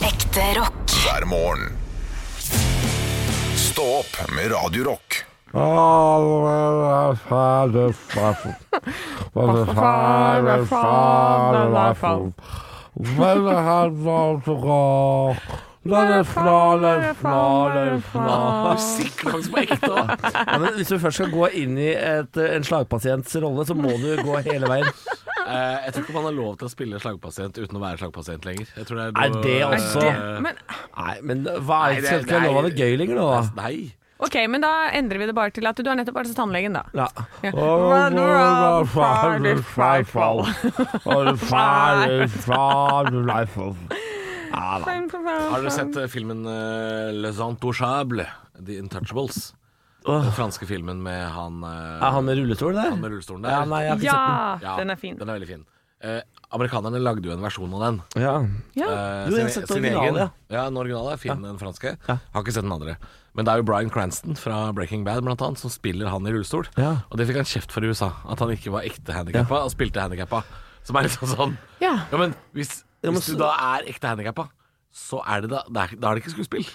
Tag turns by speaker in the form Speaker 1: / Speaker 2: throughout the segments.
Speaker 1: Ekte rock.
Speaker 2: hver morgen. Stå opp med Radio Rock.
Speaker 3: sikler faktisk på ekte. da. Ja, men hvis du først skal gå inn i et, eh, en slagpasients rolle, så må du gå hele veien.
Speaker 4: Eh, jeg tror ikke man har lov til å spille slagpasient uten å være slagpasient lenger. Jeg tror det er,
Speaker 3: Er det også-
Speaker 4: Eh,
Speaker 3: Ja.
Speaker 5: Men,
Speaker 3: Nei, men hva er
Speaker 4: Nei,
Speaker 3: det
Speaker 4: det-
Speaker 3: skal ikke være lov av det gøy lenger nå, da?
Speaker 4: Nei.
Speaker 5: ok, men da endrer vi det bare til at du har nettopp vært hos tannlegen, da.
Speaker 3: Ja.
Speaker 5: Run around, fire, fire, fall.
Speaker 4: Har dere sett eh, filmen eh, Les Intouchables? The Intouchables?
Speaker 3: Åh.
Speaker 4: Den franske filmen med han, eh,
Speaker 3: Er han med rullestol der?
Speaker 4: med rullestolen der.
Speaker 3: Ja, nei, jeg har ikke sett
Speaker 5: Ja,
Speaker 4: Ja,
Speaker 5: den er fin.
Speaker 4: Den er veldig fin. Eh, amerikanerne lagde jo en versjon av den.
Speaker 3: den. Ja.
Speaker 5: Ja.
Speaker 4: Eh,
Speaker 3: Jo, jeg har
Speaker 4: sin-
Speaker 3: sett
Speaker 4: sin
Speaker 3: originalen,
Speaker 4: egen. Ja, den originale er fin, den franske. Har ikke sett den andre. Men det er jo Bryan Cranston fra Breaking Bad blant annet, som spiller han i rullestol.
Speaker 3: Ja.
Speaker 4: Og det fikk han kjeft for i USA, at han ikke var ekte handikappa og spilte handikappa. Som er litt sånn sånn
Speaker 5: ja.
Speaker 4: Ja, men hvis,
Speaker 3: men
Speaker 4: hvis du
Speaker 3: så-
Speaker 4: da er ekte handikappa, så er det da Da er, da er det ikke skuespill.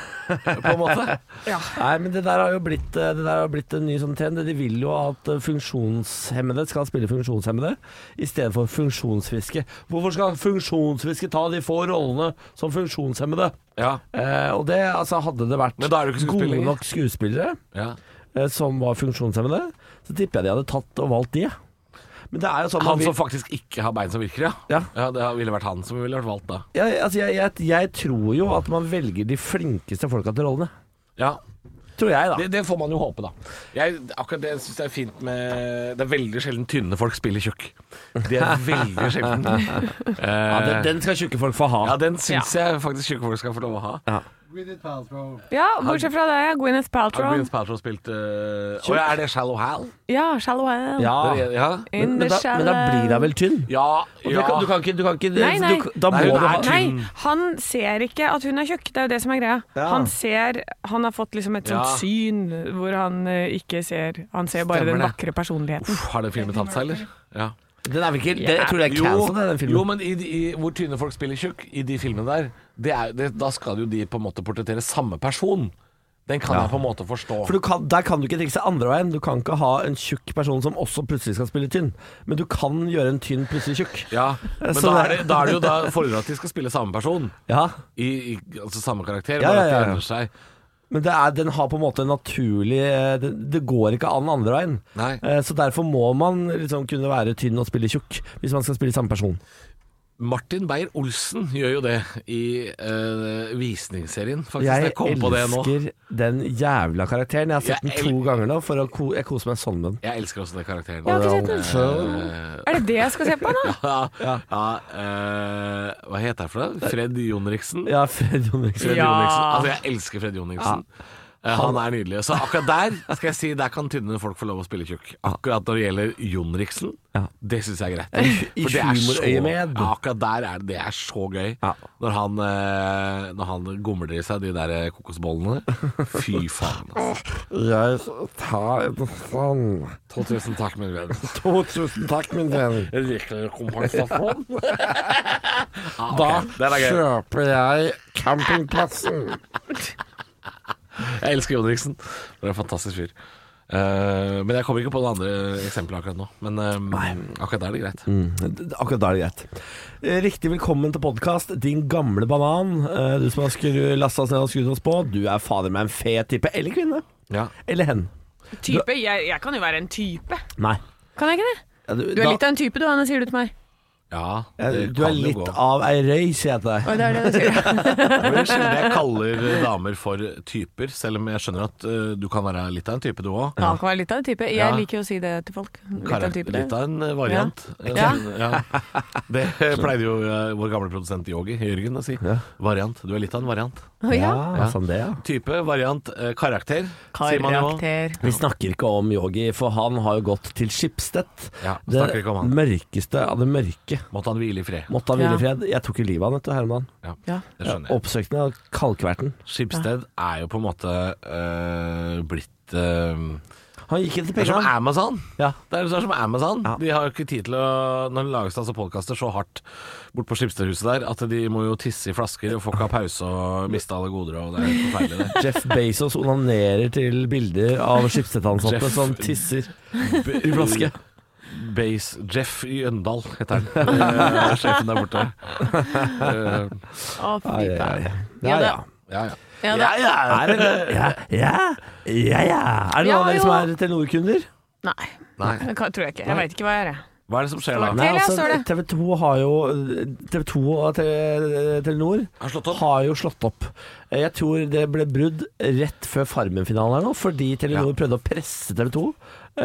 Speaker 4: På en måte.
Speaker 3: Nei, men det der har jo blitt, eh, det der har blitt en ny sånn trend. De vil jo at eh, funksjonshemmede skal spille funksjonshemmede i stedet for funksjonsfriske. Hvorfor skal funksjonsfriske ta de få rollene som funksjonshemmede?
Speaker 4: Ja.
Speaker 3: Eh, og det, altså, hadde det vært
Speaker 4: Men da er det jo ikke skuespill
Speaker 3: gode
Speaker 4: lenger.
Speaker 3: nok skuespillere
Speaker 4: ja.
Speaker 3: eh, som var funksjonshemmede, så tipper jeg de hadde tatt og valgt de. Men det er jo sånn
Speaker 4: Han
Speaker 3: man vil-
Speaker 4: som faktisk ikke har bein som virker, ja.
Speaker 3: Ja.
Speaker 4: Det ville vært han som ville vært valgt da.
Speaker 3: jeg, altså, jeg, jeg, jeg tror jo at man velger de flinkeste folka til rollene.
Speaker 4: Ja.
Speaker 3: Tror jeg, da.
Speaker 4: Det, det får man jo håpe, da. Jeg, akkurat det syns jeg er fint med Det er veldig sjelden tynne folk spiller tjukk. Det er veldig sjelden. Eh,
Speaker 3: ja, den, den skal tjukke folk få ha.
Speaker 4: Ja, den syns jeg faktisk tjukke folk skal få lov å ha.
Speaker 5: ja, bortsett fra det, Gwyneth
Speaker 4: Har
Speaker 5: Paltrow.
Speaker 4: Gwyneth Paltrow spilt eh, Å ja, er det Shallow Hal?
Speaker 5: Ja, Shallow Hell.
Speaker 3: Ja.
Speaker 4: Det er- Ja.
Speaker 3: Men,
Speaker 5: In
Speaker 3: men,
Speaker 5: the
Speaker 3: da, men da blir hun vel tynn?
Speaker 4: Ja,
Speaker 3: Ah. Og
Speaker 4: ja.
Speaker 3: Du, kan, du kan ikke, du kan ikke
Speaker 5: Nei, nei.
Speaker 3: Du, Da må
Speaker 4: Nei, hun
Speaker 3: du
Speaker 4: er
Speaker 3: ha
Speaker 4: tynn.
Speaker 5: Nei, han ser ikke at hun er tjukk, det er jo det som er greia.
Speaker 3: Ja.
Speaker 5: Han ser Han har fått liksom et
Speaker 4: Ja.
Speaker 5: sånt syn hvor han eh, ikke ser Han ser bare
Speaker 4: Stemmer
Speaker 5: den
Speaker 4: det.
Speaker 5: vakre personligheten.
Speaker 4: Uff, har den filmen tatt seg, eller? Ja.
Speaker 3: Den er vel ikke det, Jeg tror det er cancel, den filmen.
Speaker 4: jo, men i, de- i, hvor tynne folk spiller tjukk, i de filmene der, det er, det, da skal jo de på en måte portrettere samme person. Den kan jeg på en måte forstå.
Speaker 3: For du kan, Der kan du ikke trikse andre veien. Du kan ikke ha en tjukk person som også plutselig skal spille tynn. Men du kan gjøre en tynn plutselig tjukk.
Speaker 4: Ja, men
Speaker 3: Så
Speaker 4: da er,
Speaker 3: det-
Speaker 4: det, da er det jo da fordrer at de skal spille samme person.
Speaker 3: Ja,
Speaker 4: I, i, altså samme karakter,
Speaker 3: Ja,
Speaker 4: bare
Speaker 3: ja,
Speaker 4: at
Speaker 3: ja,
Speaker 4: de
Speaker 3: ja.
Speaker 4: endrer seg.
Speaker 3: Men det er, den har på en måte en naturlig eh, Det, det går ikke an andre veien.
Speaker 4: Nei.
Speaker 3: Eh, Så derfor må man liksom kunne være tynn og spille tjukk hvis man skal spille samme person.
Speaker 4: Martin Beyer-Olsen gjør jo det i eh, visningsserien, faktisk.
Speaker 3: Jeg
Speaker 4: Jeg, kom på det nå.
Speaker 3: elsker den jævla karakteren. Jeg har sett
Speaker 4: Jeg
Speaker 3: den to ganger nå, for å ko jeg koser meg sånn med den.
Speaker 4: Jeg elsker også den karakteren.
Speaker 5: Jeg har ikke sett den.
Speaker 4: Eh,
Speaker 5: Er det det jeg skal se på nå?
Speaker 4: ja, ja, eh, hva heter han for noe? Fred Jonriksen?
Speaker 3: Ja, Fred Jonriksen.
Speaker 4: Fred
Speaker 5: Ja.
Speaker 4: Jonriksen. Altså, jeg elsker Fred Jonriksen. Eh, Han er nydelig. Så akkurat der skal jeg si Der kan tynne folk få lov å spille tjukk. Akkurat når det gjelder Jonriksen,
Speaker 3: Ja.
Speaker 4: det syns jeg er greit.
Speaker 3: I
Speaker 4: det er så-
Speaker 3: humorøyemed.
Speaker 4: Ja, Akkurat der er det, det er så gøy.
Speaker 3: Ja.
Speaker 4: Når han eh, Når han gomler i seg de der eh, kokosbollene. Fy faen. Altså.
Speaker 3: Jeg tar en sånn
Speaker 4: 2000 takk, min venn.
Speaker 3: 2000 takk, min venn.
Speaker 4: Riktigere kompensasjon.
Speaker 3: Da kjøper jeg campingplassen.
Speaker 4: Jeg elsker Jonriksen. Det er en fantastisk fyr. Eh, men jeg kommer ikke på noen andre eksempler akkurat nå. Men eh, akkurat der er det greit.
Speaker 3: Akkurat da er det greit. Eh, Riktig velkommen til podkast, din gamle banan. Eh, Du som har skru- lasta oss ned og skrudd oss på. Du er fader meg en fet type. Eller kvinne.
Speaker 4: Ja.
Speaker 3: Eller hen.
Speaker 5: Type? Jeg, jeg kan jo være en type.
Speaker 3: Nei.
Speaker 5: Kan jeg ikke det?
Speaker 3: Ja, du,
Speaker 5: Du er
Speaker 3: da-
Speaker 5: litt av en type du, Anne, sier du til meg.
Speaker 4: Ja,
Speaker 3: Ja,
Speaker 4: det
Speaker 3: Eh, Du er
Speaker 4: kan jo
Speaker 3: litt
Speaker 4: gå.
Speaker 3: av ei røy, sier jeg til deg.
Speaker 5: Oi, det er det du sier.
Speaker 4: Det er sjelden jeg kaller damer for typer, selv om jeg skjønner at eh, du kan være litt av en type, du òg.
Speaker 5: Han kan være litt av en type. Jeg
Speaker 4: Ja.
Speaker 5: liker jo å si det til folk. Litt av en type, det.
Speaker 4: litt av en eh, variant. Eh,
Speaker 5: Ja.
Speaker 4: sånn, ja. Det pleide jo eh, vår gamle produsent Yogi Jørgen å si. Variant. Du er litt av en variant.
Speaker 5: Å, ja.
Speaker 3: Ja, sånn det, ja.
Speaker 4: Type, variant, eh, karakter, sier man jo.
Speaker 5: Karakter.
Speaker 3: Vi snakker ikke om Yogi, for han har jo gått til Skipstedt.
Speaker 4: Ja,
Speaker 3: det
Speaker 4: snakker ikke om han.
Speaker 3: mørkeste av det mørke.
Speaker 4: Måtte han hvile i fred.
Speaker 3: Måtte han
Speaker 5: Ja.
Speaker 3: hvile i fred. Jeg tok jo livet av han, vet du, Herman.
Speaker 4: Ja,
Speaker 5: Ja.
Speaker 4: det skjønner jeg.
Speaker 3: Oppsøkte han av kalkverten.
Speaker 4: Skipsted er jo på en måte eh, blitt eh,
Speaker 3: Han gikk etter
Speaker 4: Det er som
Speaker 3: pengene.
Speaker 4: Amazon.
Speaker 3: Ja.
Speaker 4: Det er, det er som Amazon.
Speaker 3: Ja.
Speaker 4: De har jo ikke tid til å Når det lages altså podkaster så hardt bort på Skipstadhuset der, at de må jo tisse i flasker og får ikke ha pause og miste alle goder, og det er helt forferdelig, det.
Speaker 3: Jeff Bezos onanerer til bilder av skipssettansatte
Speaker 4: Jeff-
Speaker 3: som tisser i flaske.
Speaker 4: Base Jeff Jøndal heter han. Eh, Sjefen der borte. Eh,
Speaker 5: Å, fy
Speaker 3: Ai, ai, ai.
Speaker 5: faen.
Speaker 3: Ja,
Speaker 5: det-
Speaker 3: ja.
Speaker 4: ja, ja.
Speaker 5: Ja,
Speaker 3: Er
Speaker 5: det-
Speaker 3: det, ja, ja, ja, ja. Er det noen
Speaker 5: Ja,
Speaker 3: av dere som
Speaker 5: jo.
Speaker 3: er Telenor-kunder?
Speaker 5: Nei,
Speaker 4: Nei.
Speaker 5: det kan, tror jeg ikke. Jeg veit ikke hva jeg gjør, jeg.
Speaker 4: Hva er det som skjer da?
Speaker 5: Nei, jeg så
Speaker 3: altså,
Speaker 5: det.
Speaker 3: TV 2 har jo eh, TV 2 og Te- Telenor
Speaker 4: altså, Har slått opp?
Speaker 3: har jo slått opp. Eh, Jeg tror det ble brudd rett før Farmen-finalen her nå, fordi Telenor
Speaker 4: Ja.
Speaker 3: prøvde å presse TV 2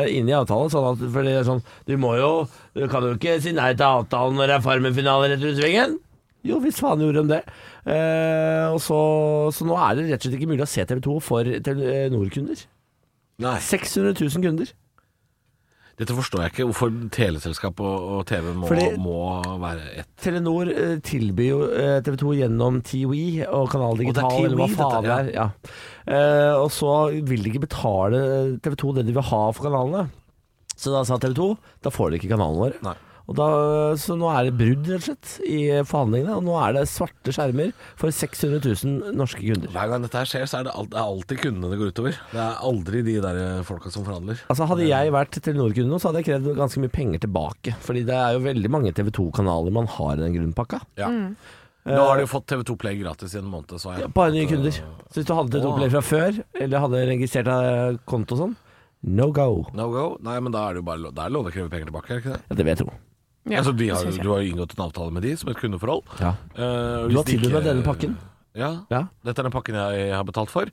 Speaker 3: inn i avtalen. Sånn at, for det er sånn Du må jo Du kan jo ikke si nei til avtalen når det er Farmen-finale rett rundt svingen. Jo, visst faen gjorde de det. Eh, og så, så nå er det rett og slett ikke mulig å se TV 2 for Telenor-kunder.
Speaker 4: Nei.
Speaker 3: 600 000 kunder.
Speaker 4: Dette forstår jeg ikke. Hvorfor teleselskap og, og TV må,
Speaker 3: Fordi-
Speaker 4: må være ett.
Speaker 3: Telenor eh, tilbyr jo TV 2 gjennom TWE og Kanal Digital,
Speaker 4: Og det er
Speaker 3: eller hva
Speaker 4: TWE,
Speaker 3: faen det
Speaker 4: dette,
Speaker 3: er. Ja. Eh, og så vil de ikke betale eh, TV 2 det de vil ha for kanalene. Så da sa TV 2 da får de ikke kanalen vår.
Speaker 4: Nei.
Speaker 3: Og da, eh, så nå er det brudd rett og slett i forhandlingene, og nå er det svarte skjermer for 600 000 norske kunder.
Speaker 4: Hver gang dette her skjer, så er det, alt, det er alltid kundene det går utover. Det er aldri de der eh, folka som forhandler.
Speaker 3: Altså Hadde jeg vært Telenor-kunde nå, så hadde jeg krevd ganske mye penger tilbake. Fordi det er jo veldig mange TV 2-kanaler man har i den grunnpakka.
Speaker 4: Ja. Nå har de jo fått TV2 Play gratis i en måned, så har jeg
Speaker 3: Bare nye kunder. Så hvis du hadde et
Speaker 4: Åh.
Speaker 3: opplegg fra før, eller hadde registrert deg konto og sånn, no go.
Speaker 4: No go? Nei, men da er det jo bare lov, det er lov å kreve penger tilbake, er det ikke det?
Speaker 3: Ja, det vil jeg tro.
Speaker 5: Ja,
Speaker 4: altså, de
Speaker 5: det
Speaker 4: har,
Speaker 5: synes jeg.
Speaker 4: du har jo inngått en avtale med de som et kundeforhold.
Speaker 3: Ja.
Speaker 4: Eh,
Speaker 3: Du
Speaker 4: hvis
Speaker 3: har
Speaker 4: de
Speaker 3: tilbudt
Speaker 4: ikke-
Speaker 3: meg denne pakken.
Speaker 4: Ja.
Speaker 3: Ja.
Speaker 4: Dette er den pakken jeg har betalt for.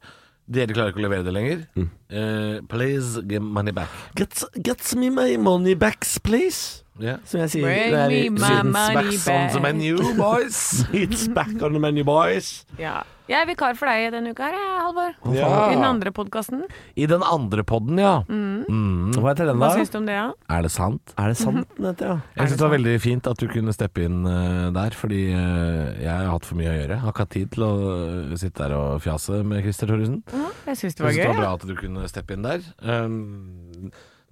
Speaker 4: Dere klarer ikke å levere det lenger. Eh, please give money back.
Speaker 3: Get, get me my money backs, please.
Speaker 4: Yeah.
Speaker 3: Som jeg sier.
Speaker 5: Bring
Speaker 3: når jeg er i-
Speaker 5: me my
Speaker 3: siden-
Speaker 5: money
Speaker 4: Backs on the
Speaker 5: back.
Speaker 4: menu, boys!
Speaker 3: It's back on the menu, boys.
Speaker 5: Ja. Jeg er vikar for deg denne uka her, jeg, Halvor.
Speaker 4: Ja.
Speaker 5: I den andre podkasten.
Speaker 4: I den andre podden, ja. Mm.
Speaker 3: Hva heter den,
Speaker 5: Hva
Speaker 3: da?
Speaker 5: syns du om det, ja?
Speaker 4: Er det sant?
Speaker 3: Er det sant den heter, ja?
Speaker 4: Jeg synes det var veldig fint at du kunne steppe inn eh, der, fordi eh, jeg har hatt for mye å gjøre. Har ikke hatt tid til å eh, sitte der og fjase med Christer Thoresen.
Speaker 5: Ja, Jeg syns det
Speaker 4: Jeg
Speaker 5: var
Speaker 4: synes
Speaker 5: gøy.
Speaker 4: det var
Speaker 5: Ja.
Speaker 4: bra at du kunne steppe inn der. Um,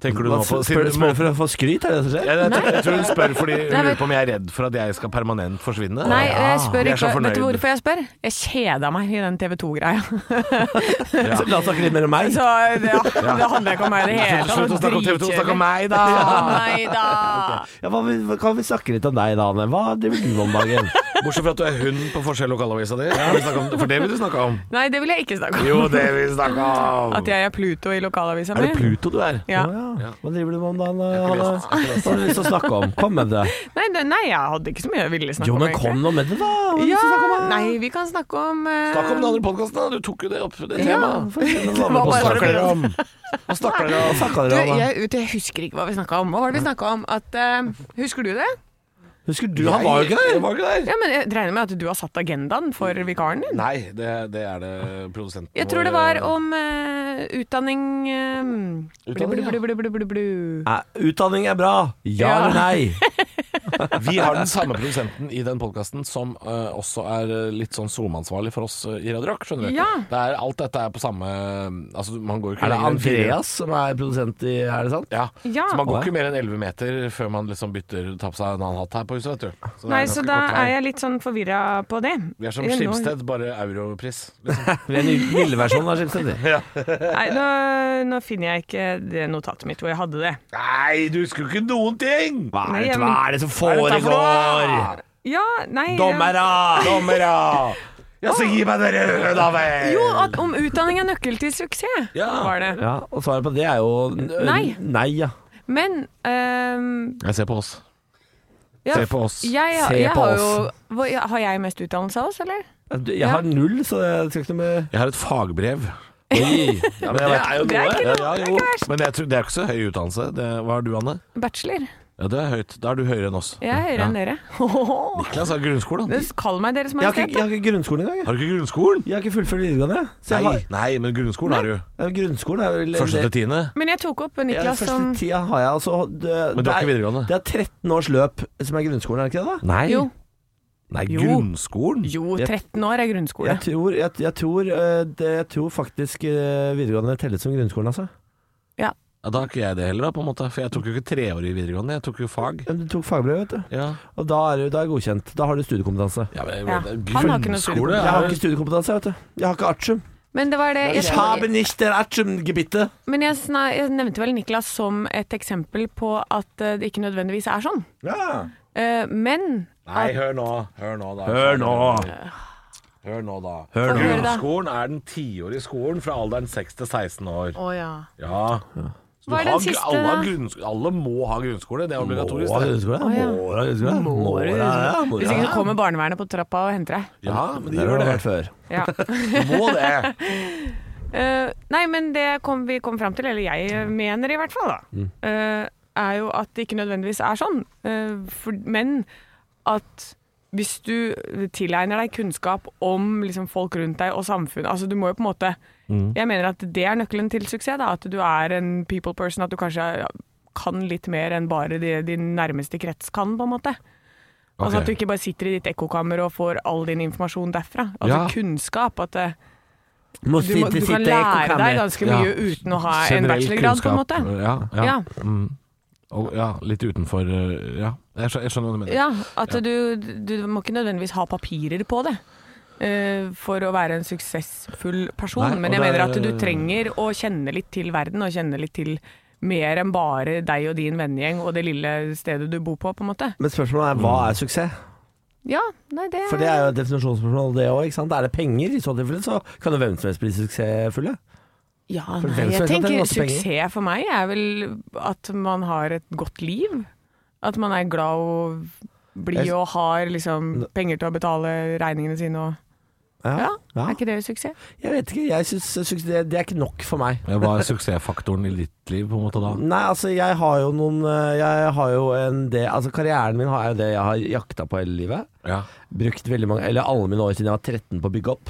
Speaker 4: tenker du
Speaker 3: Hva,
Speaker 4: nå på
Speaker 3: spør, spør, spør for å få skryt, er det det som skjer?
Speaker 4: jeg, jeg, jeg tror hun spør fordi hun
Speaker 5: Nei, men-
Speaker 4: lurer på om jeg er redd for at jeg skal permanent forsvinne.
Speaker 5: Nei, eh, jeg spør
Speaker 4: Jeg er
Speaker 5: ikke
Speaker 4: så
Speaker 5: Vet du
Speaker 4: fornøyd.
Speaker 5: hvorfor jeg spør? Jeg kjeda meg i den TV 2-greia.
Speaker 4: Ja.
Speaker 3: La oss snakke litt mer om meg.
Speaker 5: Så det, det handler ikke om meg i det hele tatt.
Speaker 4: Slutt å snakke om TV 2, snakk om meg, da!
Speaker 5: Nei da.
Speaker 3: Ja, hva, vil- hva- kan vi snakke litt om deg, da, Anne? Hva driver du om dagen?
Speaker 4: Bortsett fra at du er hund på forskjell lokalavisa di. For det vil du snakke om.
Speaker 5: Nei, det vil jeg ikke snakke om.
Speaker 4: Jo, det vil vi snakke om!
Speaker 5: At jeg er Pluto i lokalavisa
Speaker 4: Er det
Speaker 5: mi.
Speaker 4: Pluto du er?
Speaker 5: Ja.
Speaker 3: Å, ja. Hva driver du med om dagen, Hanne?
Speaker 4: lest- jeg
Speaker 3: Hva har du lyst til å snakke om? Kom med det.
Speaker 5: Nei, det- nei, jeg hadde ikke så mye jeg ville snakke
Speaker 3: Jo,
Speaker 5: om.
Speaker 3: men
Speaker 5: egentlig.
Speaker 3: kom nå med det, da. Hva skal
Speaker 5: Ja,
Speaker 3: vi snakke om, da?
Speaker 5: nei, vi kan snakke om eh,
Speaker 4: Snakk om den andre podkasten, da. Du tok jo det opp, det
Speaker 5: Ja.
Speaker 4: temaet.
Speaker 5: var
Speaker 4: Hva
Speaker 5: bare-
Speaker 4: snakker dere om? Hva snakker dere om?
Speaker 3: Snakka
Speaker 5: du,
Speaker 3: dere om det?
Speaker 5: jeg, vet du, jeg husker ikke hva vi snakka om. Hva var det vi snakka om? At, eh, husker du det?
Speaker 3: Husker du, han var jo ikke der!
Speaker 4: Jeg var ikke der.
Speaker 5: Ja, men Jeg regner med at du har satt agendaen for vikaren din?
Speaker 4: Nei, det, det er det produsenten
Speaker 5: Jeg tror det var om eh, utdanning eh,
Speaker 4: Utdanning, ja.
Speaker 5: blu, blu, blu, blu, blu, blu.
Speaker 3: Nei, Utdanning er bra! Ja
Speaker 5: Ja.
Speaker 3: eller nei?
Speaker 4: Vi har den samme produsenten i den podkasten som eh, også er eh, litt sånn SoMe-ansvarlig for oss eh, i Radio Rock, skjønner du.
Speaker 5: Ja.
Speaker 4: Det er, alt dette er på samme Altså, man går jo ikke
Speaker 3: Er det
Speaker 4: lenger enn fire-
Speaker 3: Andreas som er produsent i Er det sant?
Speaker 4: Ja.
Speaker 5: Ja.
Speaker 4: Så man går
Speaker 3: Å, ja.
Speaker 4: ikke mer enn 11 meter før man liksom bytter tar på seg en annen hatt her på huset, vet du. det er
Speaker 5: Nei,
Speaker 4: ganske
Speaker 5: så da
Speaker 4: kort vei.
Speaker 5: er jeg litt sånn forvirra på det.
Speaker 4: Vi er som
Speaker 5: Jeg nå-
Speaker 4: Skibsted, bare europris. Liksom.
Speaker 3: Vi er en lilleversjon av Skipsted.
Speaker 5: Nei, nå, nå finner jeg ikke det notatet mitt hvor jeg hadde det.
Speaker 4: Nei, du husker jo ikke noen ting!
Speaker 3: Hva
Speaker 5: Nei,
Speaker 3: er det,
Speaker 5: jeg-
Speaker 3: hva er det som
Speaker 4: Hva er dette for
Speaker 3: foregår?
Speaker 4: noe?
Speaker 5: Ja, nei
Speaker 3: Dommere!
Speaker 4: Dommere! Ja, så gi meg det røde, da vel!
Speaker 5: Jo, at om utdanning er nøkkel til suksess,
Speaker 4: Ja.
Speaker 5: var det.
Speaker 3: Ja, og svaret på det er jo n-
Speaker 5: Nei.
Speaker 3: Nei, ja.
Speaker 5: Men ehm,
Speaker 4: Jeg ser på oss.
Speaker 5: ja,
Speaker 4: Se på oss.
Speaker 5: Jeg,
Speaker 3: Se
Speaker 5: jeg
Speaker 3: på
Speaker 5: har
Speaker 3: oss.
Speaker 5: jo hvor- ja, Har jeg mest utdannelse av oss, eller?
Speaker 3: Du, Jeg har null, så det skal ikke noe med
Speaker 4: Jeg har et fagbrev.
Speaker 3: Oi.
Speaker 4: Ja, men jeg vet-
Speaker 5: Det er ikke noe-
Speaker 4: Ja,
Speaker 5: det
Speaker 4: ja,
Speaker 5: er
Speaker 4: jo.
Speaker 5: ikke verst.
Speaker 4: Men jeg tror, det er ikke så høy utdannelse. Det, hva har du, Anne?
Speaker 5: Bachelor.
Speaker 4: Ja, det er høyt. Da er du høyere enn oss.
Speaker 5: Jeg er høyere enn dere.
Speaker 4: Niklas har grunnskolen.
Speaker 5: Men Kall meg Deres
Speaker 3: Jeg har ikke,
Speaker 5: Majestet.
Speaker 3: jeg
Speaker 5: da.
Speaker 3: har ikke grunnskolen engang. jeg.
Speaker 4: Har du ikke grunnskolen?
Speaker 3: Jeg har ikke fullført videregående. Så jeg
Speaker 4: Nei,
Speaker 3: har,
Speaker 4: nei men grunnskolen har du.
Speaker 3: ja, grunnskolen er vel
Speaker 4: Første til
Speaker 3: det-
Speaker 4: tiende.
Speaker 5: Men jeg tok opp
Speaker 3: ja,
Speaker 5: Niklas som
Speaker 3: første tida har jeg, altså. Det,
Speaker 4: Men du
Speaker 3: det,
Speaker 4: har ikke
Speaker 3: er,
Speaker 4: videregående?
Speaker 3: det er 13 års løp som er grunnskolen, er det ikke det? da?
Speaker 4: Nei.
Speaker 5: Jo.
Speaker 4: Nei,
Speaker 5: Jo.
Speaker 4: grunnskolen?
Speaker 5: Jo, 13 år er grunnskole.
Speaker 3: Jeg tror, jeg, jeg, tror, eh, det, jeg tror faktisk eh, videregående telles som grunnskolen, altså.
Speaker 4: Ja, da er ikke jeg det heller, da, på en måte. For jeg tok jo ikke treårig videregående, jeg tok jo fag.
Speaker 3: Men Du tok fagbrev, vet du.
Speaker 4: Ja,
Speaker 3: Og da er du da er du godkjent. Da har du studiekompetanse.
Speaker 4: ja men
Speaker 5: Ja. Han har ikke noe studiekompetanse.
Speaker 4: grunnskole
Speaker 3: Jeg har
Speaker 4: er
Speaker 3: ikke studiekompetanse, vet du. Jeg har ikke artium.
Speaker 5: Men det var det
Speaker 3: Ich habe nicht der Artium-gebitte.
Speaker 5: Men jeg, sna- jeg nevnte vel Niklas som et eksempel på at eh, det ikke nødvendigvis er sånn.
Speaker 3: Ja.
Speaker 5: Eh, Men
Speaker 4: Nei, hør nå. Hør nå, da.
Speaker 3: Hør nå.
Speaker 4: Hør nå, da.
Speaker 3: Hør
Speaker 5: nå.
Speaker 4: Grunnskolen er den tiårige skolen fra alderen 6 til 16 år.
Speaker 5: Å ja.
Speaker 4: Ja. Så du
Speaker 5: Hva er den
Speaker 4: har-
Speaker 5: siste,
Speaker 4: alle, har
Speaker 5: da?
Speaker 4: grunnsko- alle må ha grunnskole, det er obligatorisk.
Speaker 3: Måra
Speaker 4: det.
Speaker 3: grunnskole.
Speaker 5: Å, ja.
Speaker 3: Måra grunnskole. Måra, ja, måra.
Speaker 5: Hvis ikke så kommer barnevernet på trappa og henter deg.
Speaker 4: Ja, men de
Speaker 3: Det har
Speaker 4: gjør
Speaker 3: du
Speaker 4: det.
Speaker 3: hørt før.
Speaker 5: Ja.
Speaker 4: Du må det.
Speaker 5: Eh, nei, men det kom, vi kom fram til, eller jeg mener i hvert fall, da,
Speaker 4: Mm.
Speaker 5: eh, er jo at det ikke nødvendigvis er sånn. Eh, for, men at hvis du tilegner deg kunnskap om liksom, folk rundt deg og samfunnet altså Du må jo på en måte
Speaker 4: Mm.
Speaker 5: Jeg mener at det er nøkkelen til suksess. da, At du er en people person. At du kanskje ja, kan litt mer enn bare det din nærmeste krets kan, på en måte. Altså
Speaker 4: Ok.
Speaker 5: At du ikke bare sitter i ditt ekkokammer og får all din informasjon derfra. Altså
Speaker 4: Ja.
Speaker 5: kunnskap. at det,
Speaker 3: Må
Speaker 5: du, må, du kan lære deg altså. ganske mye uten å ha en
Speaker 4: Generell
Speaker 5: bachelorgrad, på en måte.
Speaker 4: kunnskap. Ja, ja.
Speaker 5: Ja.
Speaker 4: Mm. Og, ja litt utenfor eh, Ja, jeg skjønner, jeg skjønner hva du mener.
Speaker 5: Ja, at du, du må ikke nødvendigvis ha papirer på det. eh, For å være en suksessfull person.
Speaker 4: Nei, og
Speaker 5: Men jeg
Speaker 4: det er- eh,
Speaker 5: mener at du trenger å kjenne litt til verden, og kjenne litt til mer enn bare deg og din vennegjeng og det lille stedet du bor på, på en måte.
Speaker 3: Men spørsmålet er hva er suksess?
Speaker 5: Ja, nei, det
Speaker 3: For det er jo et definisjonsspørsmål, det òg. Er det penger? I så tilfelle så kan jo hvem som helst bli suksessfulle.
Speaker 5: Ja,
Speaker 3: For hvem som
Speaker 5: nei, jeg
Speaker 3: helst kan tjene
Speaker 5: tenker
Speaker 3: masse penger.
Speaker 5: suksess for meg er vel at man har et godt liv. At man er glad og blid
Speaker 3: Jeg-
Speaker 5: og har liksom penger til å betale regningene sine og Ja,
Speaker 3: ja.
Speaker 5: er ikke det suksess?
Speaker 3: Jeg vet ikke. Jeg synes, suksess det, det er ikke nok for meg.
Speaker 4: Ja, Hva er suksessfaktoren i ditt liv, på en måte, da?
Speaker 5: Mm.
Speaker 3: Nei, altså jeg har jo noen eh, Jeg har jo en del Altså karrieren min har jo det jeg har jakta på hele livet.
Speaker 4: Ja.
Speaker 3: Brukt veldig mange Eller alle mine år siden jeg var 13 på å bygge opp.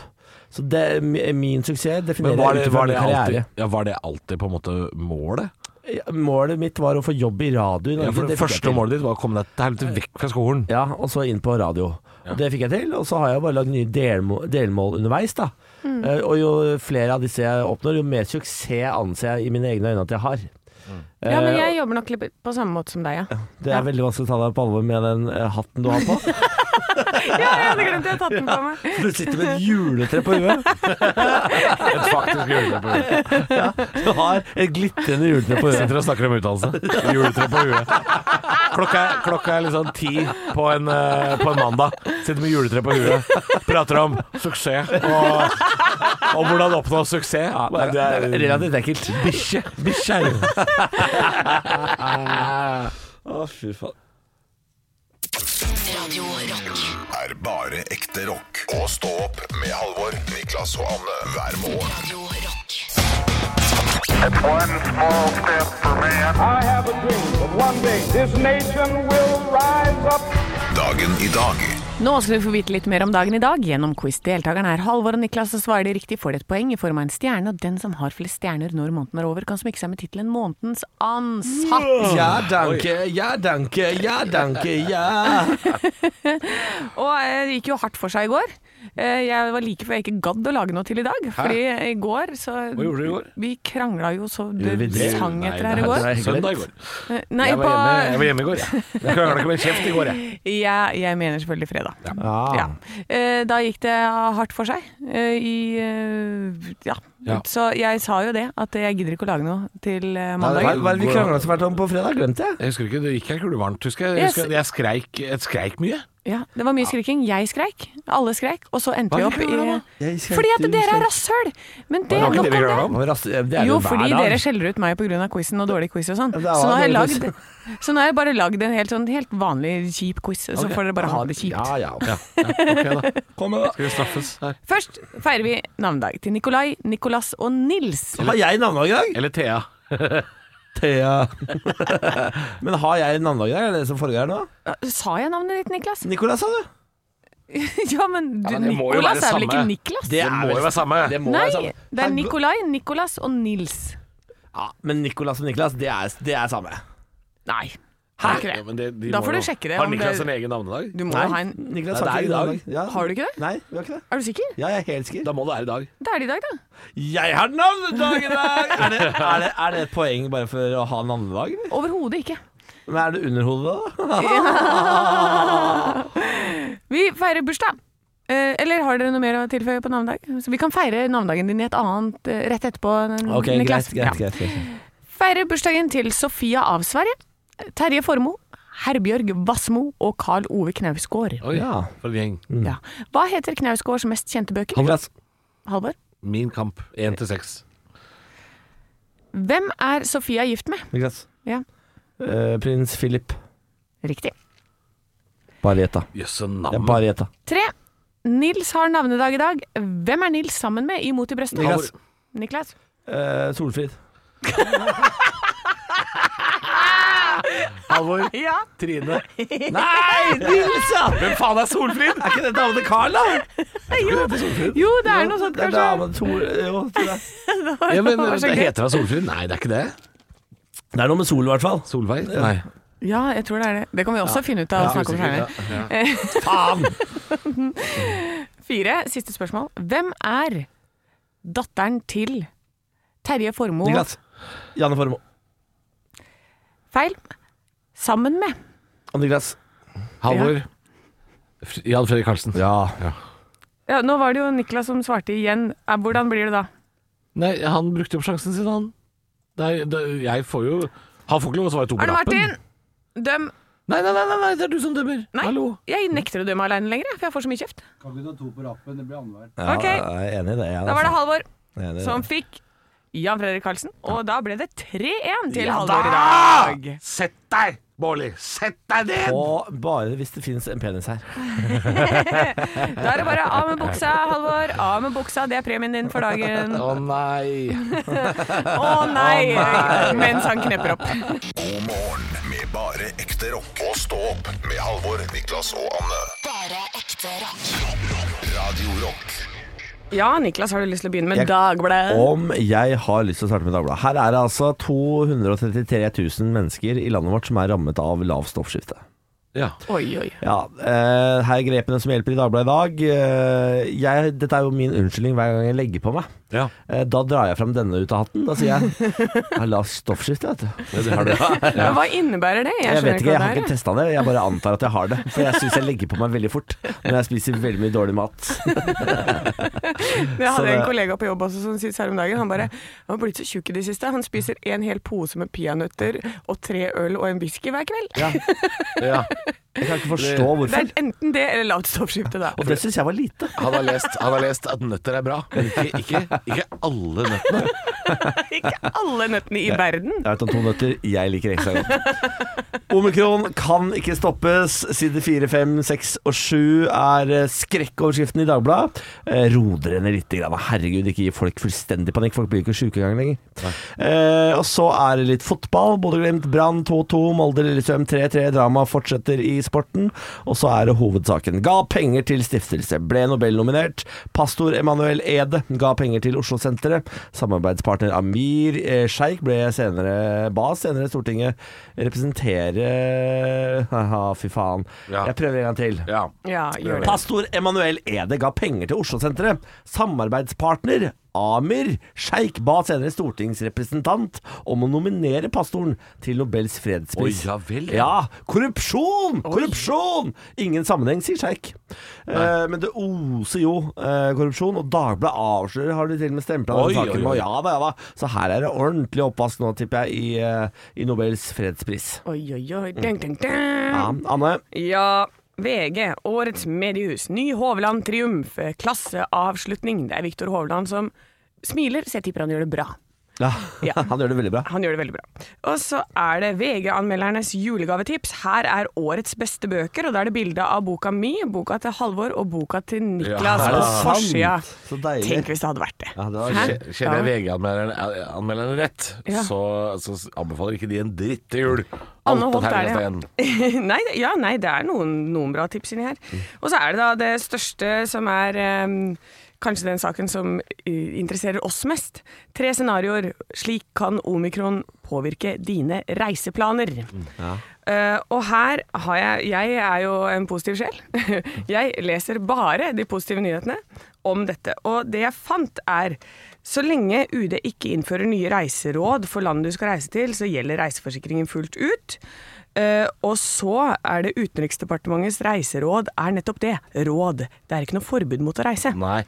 Speaker 3: Så det, mi- min suksess
Speaker 4: Men
Speaker 3: definerer
Speaker 4: var det,
Speaker 3: jeg ut ifra
Speaker 4: var, det
Speaker 3: min karriere.
Speaker 4: alltid, ja, var det alltid på en måte målet?
Speaker 3: Ja, Målet mitt var å få jobb i radio i
Speaker 4: Ja,
Speaker 3: Norge.
Speaker 4: for
Speaker 3: Det fikk
Speaker 4: det
Speaker 3: jeg
Speaker 4: første
Speaker 3: til.
Speaker 4: målet ditt var å komme deg til helvete vekk fra skolen.
Speaker 3: Ja, og så inn på radio. Og Det fikk jeg til, og så har jeg bare lagd nye delmål, delmål underveis. da.
Speaker 5: Mm.
Speaker 3: Eh, og jo flere av disse jeg oppnår, jo mer suksess anser jeg i mine egne øyne at jeg har.
Speaker 4: Mm.
Speaker 5: Ja, men
Speaker 3: Eh,
Speaker 5: jeg jobber nok litt på samme måte som deg, ja.
Speaker 3: Det er veldig vanskelig å ta deg på alvor med den eh, hatten du har på.
Speaker 5: Ja, jeg hadde glemt jeg hadde tatt den på meg.
Speaker 3: Du sitter med et juletre på huet.
Speaker 4: Et faktisk juletre på huet.
Speaker 3: Du har et glitrende juletre på huet.
Speaker 4: Sitter og snakker om utdannelse. Juletre på huet. Klokka er, klokka er liksom ti på en, eh, på en mandag. Sitter med juletre på huet. Prater om suksess og, og hvordan oppnå suksess.
Speaker 3: Det er, det er relativt ekkelt.
Speaker 4: bikkje. Bikkje er jo
Speaker 3: Å, fy faen.
Speaker 1: Radio Rock.
Speaker 2: Er bare ekte rock. Og stå opp med Halvor, Niklas og Anne hver morgen.
Speaker 1: Radio Rock.
Speaker 6: One small step for man.
Speaker 7: I have a dream that one day this nation will rise up.
Speaker 2: Dagen i dag
Speaker 5: Nå skal du få vite litt mer om dagen i dag gjennom quiz. Deltakerne er Halvor og Niklas, og svarer de riktig får de et poeng i form av en stjerne. Og den som har flest stjerner når måneden er over, kan smykke seg med tittelen 'Månedens ansatt'.
Speaker 3: Ja, danke, ja, danke, ja, danke, ja.
Speaker 5: Og eh, det gikk jo hardt for seg i går. Eh, Jeg var like før jeg ikke gadd å lage noe til i dag. Fordi i går så
Speaker 4: Hva gjorde du i går?
Speaker 5: Vi krangla jo så
Speaker 3: Gjorde vi
Speaker 5: det
Speaker 3: det?
Speaker 5: sang
Speaker 4: Nei,
Speaker 5: etter her i
Speaker 4: det er-
Speaker 5: går.
Speaker 4: det er Søndag i går.
Speaker 5: Eh, Nei,
Speaker 4: Jeg var
Speaker 5: på
Speaker 4: hjemme, jeg var hjemme i går, jeg. Jeg krangla ikke med en kjeft i går, jeg.
Speaker 5: jeg, jeg mener selvfølgelig fredag.
Speaker 3: Ah.
Speaker 5: Ja. Eh, Da gikk det hardt for seg. eh, I, eh, ja.
Speaker 4: Ja.
Speaker 5: Så jeg sa jo det, at jeg gidder ikke å lage noe til eh,
Speaker 3: Hva
Speaker 5: mandag.
Speaker 3: hva er det vi krangla så fælt om på fredag? Glemte jeg.
Speaker 4: Jeg husker ikke, Det gikk her kulevarmt, husker jeg. Jeg, husker, jeg skreik, jeg skreik mye.
Speaker 5: Ja, det var mye skriking. Jeg skreik. Alle skreik. Og så endte
Speaker 4: Hva
Speaker 5: vi
Speaker 4: er det vi krangler om,
Speaker 5: opp
Speaker 3: da? Jeg
Speaker 5: i
Speaker 3: skreik,
Speaker 5: Fordi at
Speaker 3: du
Speaker 5: dere er
Speaker 3: skrek.
Speaker 5: rasshøl! Men det,
Speaker 4: Det var ikke
Speaker 5: nok
Speaker 4: det vi
Speaker 5: om
Speaker 4: krangla
Speaker 5: det.
Speaker 4: om.
Speaker 3: Det var ras- Det er
Speaker 5: Jo,
Speaker 3: hver
Speaker 5: fordi
Speaker 3: dag.
Speaker 5: dere skjeller ut meg pga. quizen og dårlig quiz og sånn.
Speaker 3: Ja, det er
Speaker 5: Så nå har jeg
Speaker 3: dårlig
Speaker 5: lagd Så nå har jeg bare lagd en helt, sånn, helt vanlig kjip quiz, så
Speaker 4: Ok.
Speaker 5: får dere bare ha det kjipt.
Speaker 3: Ja, ja.
Speaker 4: Ja, ja, ok da.
Speaker 3: Kom med, da.
Speaker 4: Skal vi straffes her?
Speaker 5: Først feirer vi navnedag til Nikolai, Nicolas og Nils.
Speaker 3: Har jeg navnedag i dag?
Speaker 4: Eller Thea.
Speaker 3: Thea. Men har jeg navnedag i dag? Er det det som foregår her nå?
Speaker 5: Sa jeg navnet ditt, Niklas?
Speaker 3: Nicolas, sa du?
Speaker 5: Ja, men du,
Speaker 4: Ja, men det må jo
Speaker 5: Nicolas
Speaker 4: være
Speaker 5: er vel ikke
Speaker 4: samme.
Speaker 5: Niklas?
Speaker 4: Det må jo være samme.
Speaker 3: Det må
Speaker 5: Nei,
Speaker 3: være samme.
Speaker 5: det er Nikolai, Nicolas og Nils.
Speaker 3: Ja, men Nicolas og Niklas, det er, det er samme.
Speaker 5: Nei. Har du ikke
Speaker 4: Ja,
Speaker 5: det?
Speaker 4: men det de
Speaker 5: Da
Speaker 4: må
Speaker 5: får
Speaker 4: jo-
Speaker 5: du sjekke det.
Speaker 4: Har
Speaker 5: om
Speaker 4: Niklas
Speaker 5: det-
Speaker 4: en egen navnedag?
Speaker 5: Du må
Speaker 3: Nei,
Speaker 5: jo ha en
Speaker 3: Niklas har
Speaker 4: Nei, det
Speaker 3: ikke
Speaker 4: er i
Speaker 3: det
Speaker 4: dag.
Speaker 3: Ja.
Speaker 5: Har du ikke det?
Speaker 3: Nei, vi har ikke det.
Speaker 5: Er du sikker?
Speaker 3: Ja, jeg er helt sikker.
Speaker 4: Da må det være i dag.
Speaker 5: Det er det i dag, da.
Speaker 3: Jeg har navnedag i dag! Er det, er, det, er det et poeng bare for å ha navnedag, eller?
Speaker 5: Overhodet ikke.
Speaker 3: Men er det under hodet, da?
Speaker 5: Vi feirer bursdag. Eh, eller har dere noe mer å tilføye på navnedag? Så vi kan feire navnedagen din i et annet eh, rett etterpå. N-
Speaker 3: Ok, greit,
Speaker 5: Niklas.
Speaker 3: greit,
Speaker 5: Ja.
Speaker 3: greit, greit.
Speaker 5: Feirer bursdagen til Sofia av Sverige, Terje Formoe, Herbjørg Wassmo og Karl Ove Knausgård.
Speaker 4: Oi,
Speaker 3: Ja.
Speaker 4: for en gjeng.
Speaker 3: Mm.
Speaker 5: Ja. Hva heter Knausgårds mest kjente bøker?
Speaker 3: Niklas.
Speaker 5: Halvor.
Speaker 4: Min kamp, én til seks.
Speaker 5: Hvem er Sofia gift med?
Speaker 3: Niklas.
Speaker 5: Ja.
Speaker 3: Eh, prins Philip.
Speaker 5: Riktig.
Speaker 3: Bare gjett, da.
Speaker 4: Jøsse
Speaker 3: Det er
Speaker 4: navn.
Speaker 3: bare gjett, da.
Speaker 5: Tre. Nils har navnedag i dag. Hvem er Nils sammen med i Mot i brøstet?
Speaker 3: Niklas.
Speaker 5: Niklas.
Speaker 3: Eh, Solfrid.
Speaker 4: Halvor.
Speaker 5: Ja.
Speaker 4: Trine.
Speaker 3: Nei, Nils, ja!
Speaker 4: Hvem faen er Solfrid?
Speaker 3: Er ikke det dame til Carl, da?
Speaker 5: Jo, jo, det er noe sånt,
Speaker 3: Det er
Speaker 5: kanskje.
Speaker 3: dame Tor... Jo, tror jeg.
Speaker 4: Ja, men
Speaker 5: Det var så
Speaker 4: det
Speaker 5: gøy.
Speaker 4: Heter hun Solfrid? Nei, det er ikke det.
Speaker 3: Det er noe med sol, i hvert fall.
Speaker 4: Solveig? Nei.
Speaker 5: Ja, jeg tror det er det. Det kan vi også finne ut av å snakke om senere.
Speaker 3: Faen!
Speaker 5: Fire, siste spørsmål. Hvem er datteren til Terje Formoe
Speaker 3: Niklas. Janne Formoe.
Speaker 5: feil? Sammen med
Speaker 3: Og Niklas.
Speaker 4: Halvor. F- Jan Fredrik Karlsen.
Speaker 3: Ja.
Speaker 5: ja, Nå var det jo Niklas som svarte igjen. Eh, Hvordan blir det da?
Speaker 4: Nei, han brukte opp sjansen sin, han. Det er, det, jeg får jo Han får ikke lov å svare to på
Speaker 5: Arne
Speaker 4: lappen.
Speaker 5: Martin! Døm.
Speaker 4: Nei, nei, nei, nei, nei, det er du som dømmer.
Speaker 5: Nei,
Speaker 4: Hallo.
Speaker 5: jeg nekter å dømme aleine lenger, jeg, for jeg får så mye kjeft.
Speaker 3: ja
Speaker 5: Ok.
Speaker 3: Jeg er enig i det. Jeg,
Speaker 5: Da var det Halvor
Speaker 3: Enig i det.
Speaker 5: som fikk Jan Fredrik Karlsen, og da ble det 3-1 til
Speaker 4: Ja
Speaker 5: Halvor i
Speaker 4: da!
Speaker 5: dag.
Speaker 4: Sett deg, Bårli! Sett deg ned!
Speaker 3: Og bare hvis det finnes en penis her.
Speaker 5: Da er det bare av med buksa, Halvor. Av med buksa, det er premien din for dagen.
Speaker 4: Å nei.
Speaker 5: Å nei! Mens han knepper opp.
Speaker 2: God morgen med bare ekte rock. Og stå opp med Halvor, Niklas og Anne.
Speaker 1: Bare ekte rock.
Speaker 2: Radio Rock
Speaker 5: Ja, Niklas, har du lyst til å begynne med
Speaker 3: Jeg-
Speaker 5: Dagbladet?
Speaker 3: Om jeg har lyst til å starte med Dagbladet. Her er det altså 233 000 mennesker i landet vårt som er rammet av lavt stoffskifte.
Speaker 4: Ja.
Speaker 5: Oi, oi.
Speaker 3: Ja, eh, her er grepene som hjelper i Dagbladet i dag. Eh, jeg, dette er jo min unnskyldning hver gang jeg legger på meg.
Speaker 4: ja.
Speaker 3: Eh, da drar jeg fram denne ut av hatten. Da sier jeg jeg har lavt stoffskifte, vet du.
Speaker 4: Det har du.
Speaker 5: Men hva innebærer det?
Speaker 3: Jeg vet ikke, jeg
Speaker 5: hva
Speaker 3: har ikke
Speaker 5: det er.
Speaker 3: testa det. Jeg bare antar at jeg har det. For jeg syns jeg legger på meg veldig fort når jeg spiser veldig mye dårlig mat.
Speaker 5: Jeg
Speaker 3: så
Speaker 5: hadde en
Speaker 3: det-
Speaker 5: kollega på jobb også som syntes her om dagen. Han bare Han har blitt så tjukk i det siste. Han spiser en hel pose med peanøtter og tre øl og en whisky hver kveld.
Speaker 4: Ja.
Speaker 3: Jeg kan ikke forstå
Speaker 5: Det
Speaker 3: hvorfor.
Speaker 5: er enten det eller lavt stoppskifte, da.
Speaker 3: Og det syns jeg var lite.
Speaker 4: Han, har lest, han har lest at nøtter er bra, men ikke, ikke, ikke alle nøttene.
Speaker 5: Ikke alle nøttene i verden.
Speaker 3: Jeg vet om sånn to nøtter jeg liker ekstra godt. Omikron kan ikke stoppes. Side 4, 5, 6 og 7 er eh, skrekkoverskriften i Dagbladet. Eh, Ro dere ned litt. Grann. Herregud, ikke gi folk fullstendig panikk. Folk blir ikke sjuke engang lenger. Eh, og så er det litt fotball. Bodø-Glimt, Brann 2-2. Molde-Lillestrøm 3-3. Drama fortsetter i sporten. Og så er det hovedsaken. Ga penger til stiftelse. Ble Nobel-nominert. Pastor Emanuel Ede ga penger til Oslo-senteret. Samarbeidspartner Amir eh, Sjeik ble senere ba senere Stortinget representere Haha, fy faen.
Speaker 4: Ja.
Speaker 3: Jeg prøver en gang til.
Speaker 4: Ja.
Speaker 5: Ja, gjør det.
Speaker 3: Pastor Emanuel Ede ga penger til Oslo-senteret. Samarbeidspartner Amir Sjeik ba senere stortingsrepresentant om å nominere pastoren til Nobels fredspris.
Speaker 4: Oi, ja vel, ja.
Speaker 3: Ja, korrupsjon! Korrupsjon! Ingen sammenheng, sier Sjeik. Eh, men det oser jo eh, korrupsjon, og Dagbladet avslører har de til og med stempla
Speaker 4: Oi,
Speaker 3: den
Speaker 4: oi,
Speaker 3: saken
Speaker 4: oi.
Speaker 3: med. Ja da, ja da. Så her er det ordentlig oppvask nå, tipper jeg, i, eh, i Nobels fredspris.
Speaker 5: Oi, oi, oi. Dun, dun, dun.
Speaker 3: Ja, Anne.
Speaker 5: Ja, VG, årets mediehus. Ny Hovland triumf. Klasseavslutning. Det er Viktor Hovland som smiler. Så jeg tipper han gjør det bra.
Speaker 3: Ja,
Speaker 5: Ja.
Speaker 3: Han gjør det veldig bra.
Speaker 5: Han gjør det veldig bra. Og så er det VG-anmeldernes julegavetips. Her er årets beste bøker, og da er det bilde av boka mi, boka til Halvor og boka til Niklas
Speaker 4: Ja,
Speaker 5: på
Speaker 3: sant?
Speaker 5: forsida.
Speaker 3: Altså, Så deilig.
Speaker 5: Tenk hvis det hadde vært det.
Speaker 3: Ja, det var
Speaker 5: Hæ?
Speaker 4: Kje- Kjenner jeg VG-anmelderne anmelderne rett,
Speaker 5: Ja.
Speaker 4: så, så anbefaler ikke de en dritt til jul.
Speaker 5: Anne
Speaker 4: Alt om
Speaker 5: Holt er det, ja.
Speaker 4: Herrestein.
Speaker 5: nei, det- ja, nei, det er noen, noen bra tips inni her. Og så er det da det største som er eh, kanskje den saken som eh, interesserer oss mest. Tre scenarioer. Slik kan omikron påvirke dine reiseplaner. Eh, og her har jeg Jeg er jo en positiv sjel. jeg leser bare de positive nyhetene om dette. Og det jeg fant, er så lenge UD ikke innfører nye reiseråd for landet du skal reise til, så gjelder reiseforsikringen fullt ut. Eh, og så er det Utenriksdepartementets reiseråd er nettopp det. Råd. Det er ikke noe forbud mot å reise.
Speaker 4: Nei.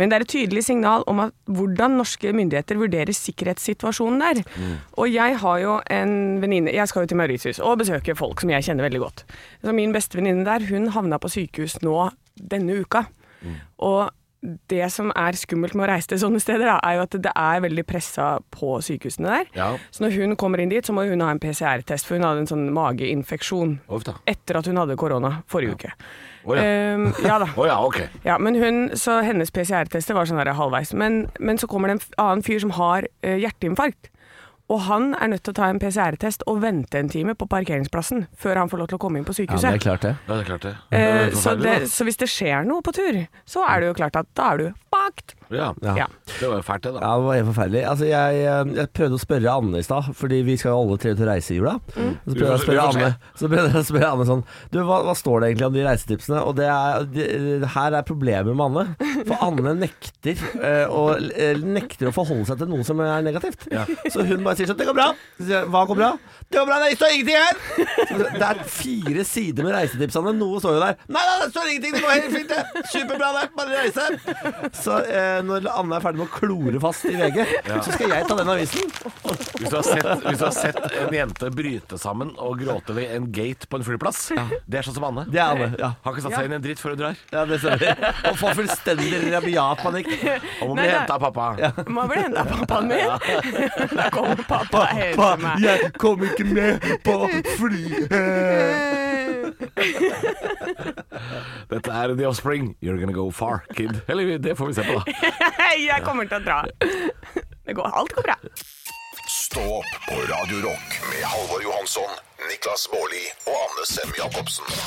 Speaker 5: Men det er et tydelig signal om at hvordan norske myndigheter vurderer sikkerhetssituasjonen der.
Speaker 4: Mm.
Speaker 5: Og jeg har jo en venninne Jeg skal jo til Mauritius og besøke folk som jeg kjenner veldig godt. Så min beste venninne der, hun havna på sykehus nå denne uka.
Speaker 4: Mm.
Speaker 5: Og det som er skummelt med å reise til sånne steder, da, er jo at det er veldig pressa på sykehusene der.
Speaker 4: Ja.
Speaker 5: Så når hun kommer inn dit, så må hun ha en PCR-test, for hun hadde en sånn mageinfeksjon
Speaker 4: Uff da.
Speaker 5: etter at hun hadde korona forrige uke.
Speaker 4: Å ja.
Speaker 5: Ehm, ja da.
Speaker 4: Å ja, ok.
Speaker 5: Ja, men hun, så hennes PCR-tester var sånn her halvveis. Men, men så kommer det en f- annen fyr som har eh, hjerteinfarkt. Og han er nødt til å ta en PCR-test og vente en time på parkeringsplassen før han får lov til å komme inn på
Speaker 3: Ja, det
Speaker 5: sykehuset.
Speaker 3: er klart det.
Speaker 4: Ja, det er klart det.
Speaker 5: Eh,
Speaker 4: Det er
Speaker 5: så,
Speaker 4: forferdelig,
Speaker 5: det, så hvis det skjer noe på tur, så er det jo klart at da er du fucked.
Speaker 4: da. Ja.
Speaker 3: Ja.
Speaker 5: Ja.
Speaker 4: Det var jo fælt, det, da.
Speaker 3: Ja, det var helt forferdelig. Altså, jeg, eh, jeg prøvde å spørre Anne i stad, fordi vi skal jo alle tre ut og reise i jula.
Speaker 5: Mm.
Speaker 3: Så prøvde jeg å
Speaker 4: Vi
Speaker 3: spørre
Speaker 4: får se.
Speaker 3: Anne, så prøvde jeg å spørre Anne sånn Du, hva, hva står det egentlig om de reisetipsene? Og det er, det, her er problemet med Anne. For Anne nekter, eh, å, eh, nekter å forholde seg til noe som er negativt. Så hun bare sier sånn Det går bra. Så sier jeg, Hva går bra? Det går bra, det står ingenting her. Så Det er fire sider med reisetips, Anne. Noe står jo der. Nei, nei, det står ingenting. Det går helt fint, det. Superbra, det. Bare reise. Så eh, når Anne er ferdig med å klore fast i VG, så skal jeg ta den avisen.
Speaker 4: Hvis du, har sett, hvis du har sett en jente bryte sammen og gråte ved en gate på en flyplass Det er sånn som Anne.
Speaker 3: Det er Anne. Ja,
Speaker 4: Har ikke satt seg inn i en dritt før hun drar.
Speaker 3: ja det stemmer. Og får fullstendig rabiat panikk.
Speaker 4: Og må
Speaker 5: Nei,
Speaker 4: bli
Speaker 5: nei.
Speaker 4: henta av pappa.
Speaker 5: Må vel hente pappaen min. da kommer pappa og henter
Speaker 3: Pappa,
Speaker 5: meg.
Speaker 3: jeg kom ikke med på flyet.
Speaker 4: Dette er The Offspring. You're gonna go far, kid. Eller det får vi se på, da.
Speaker 5: Jeg kommer til å dra. Det går, alt går bra.
Speaker 2: Stå opp på Radio Rock med Halvor Johansson, Niklas Baarli og Anne Sem Jacobsen.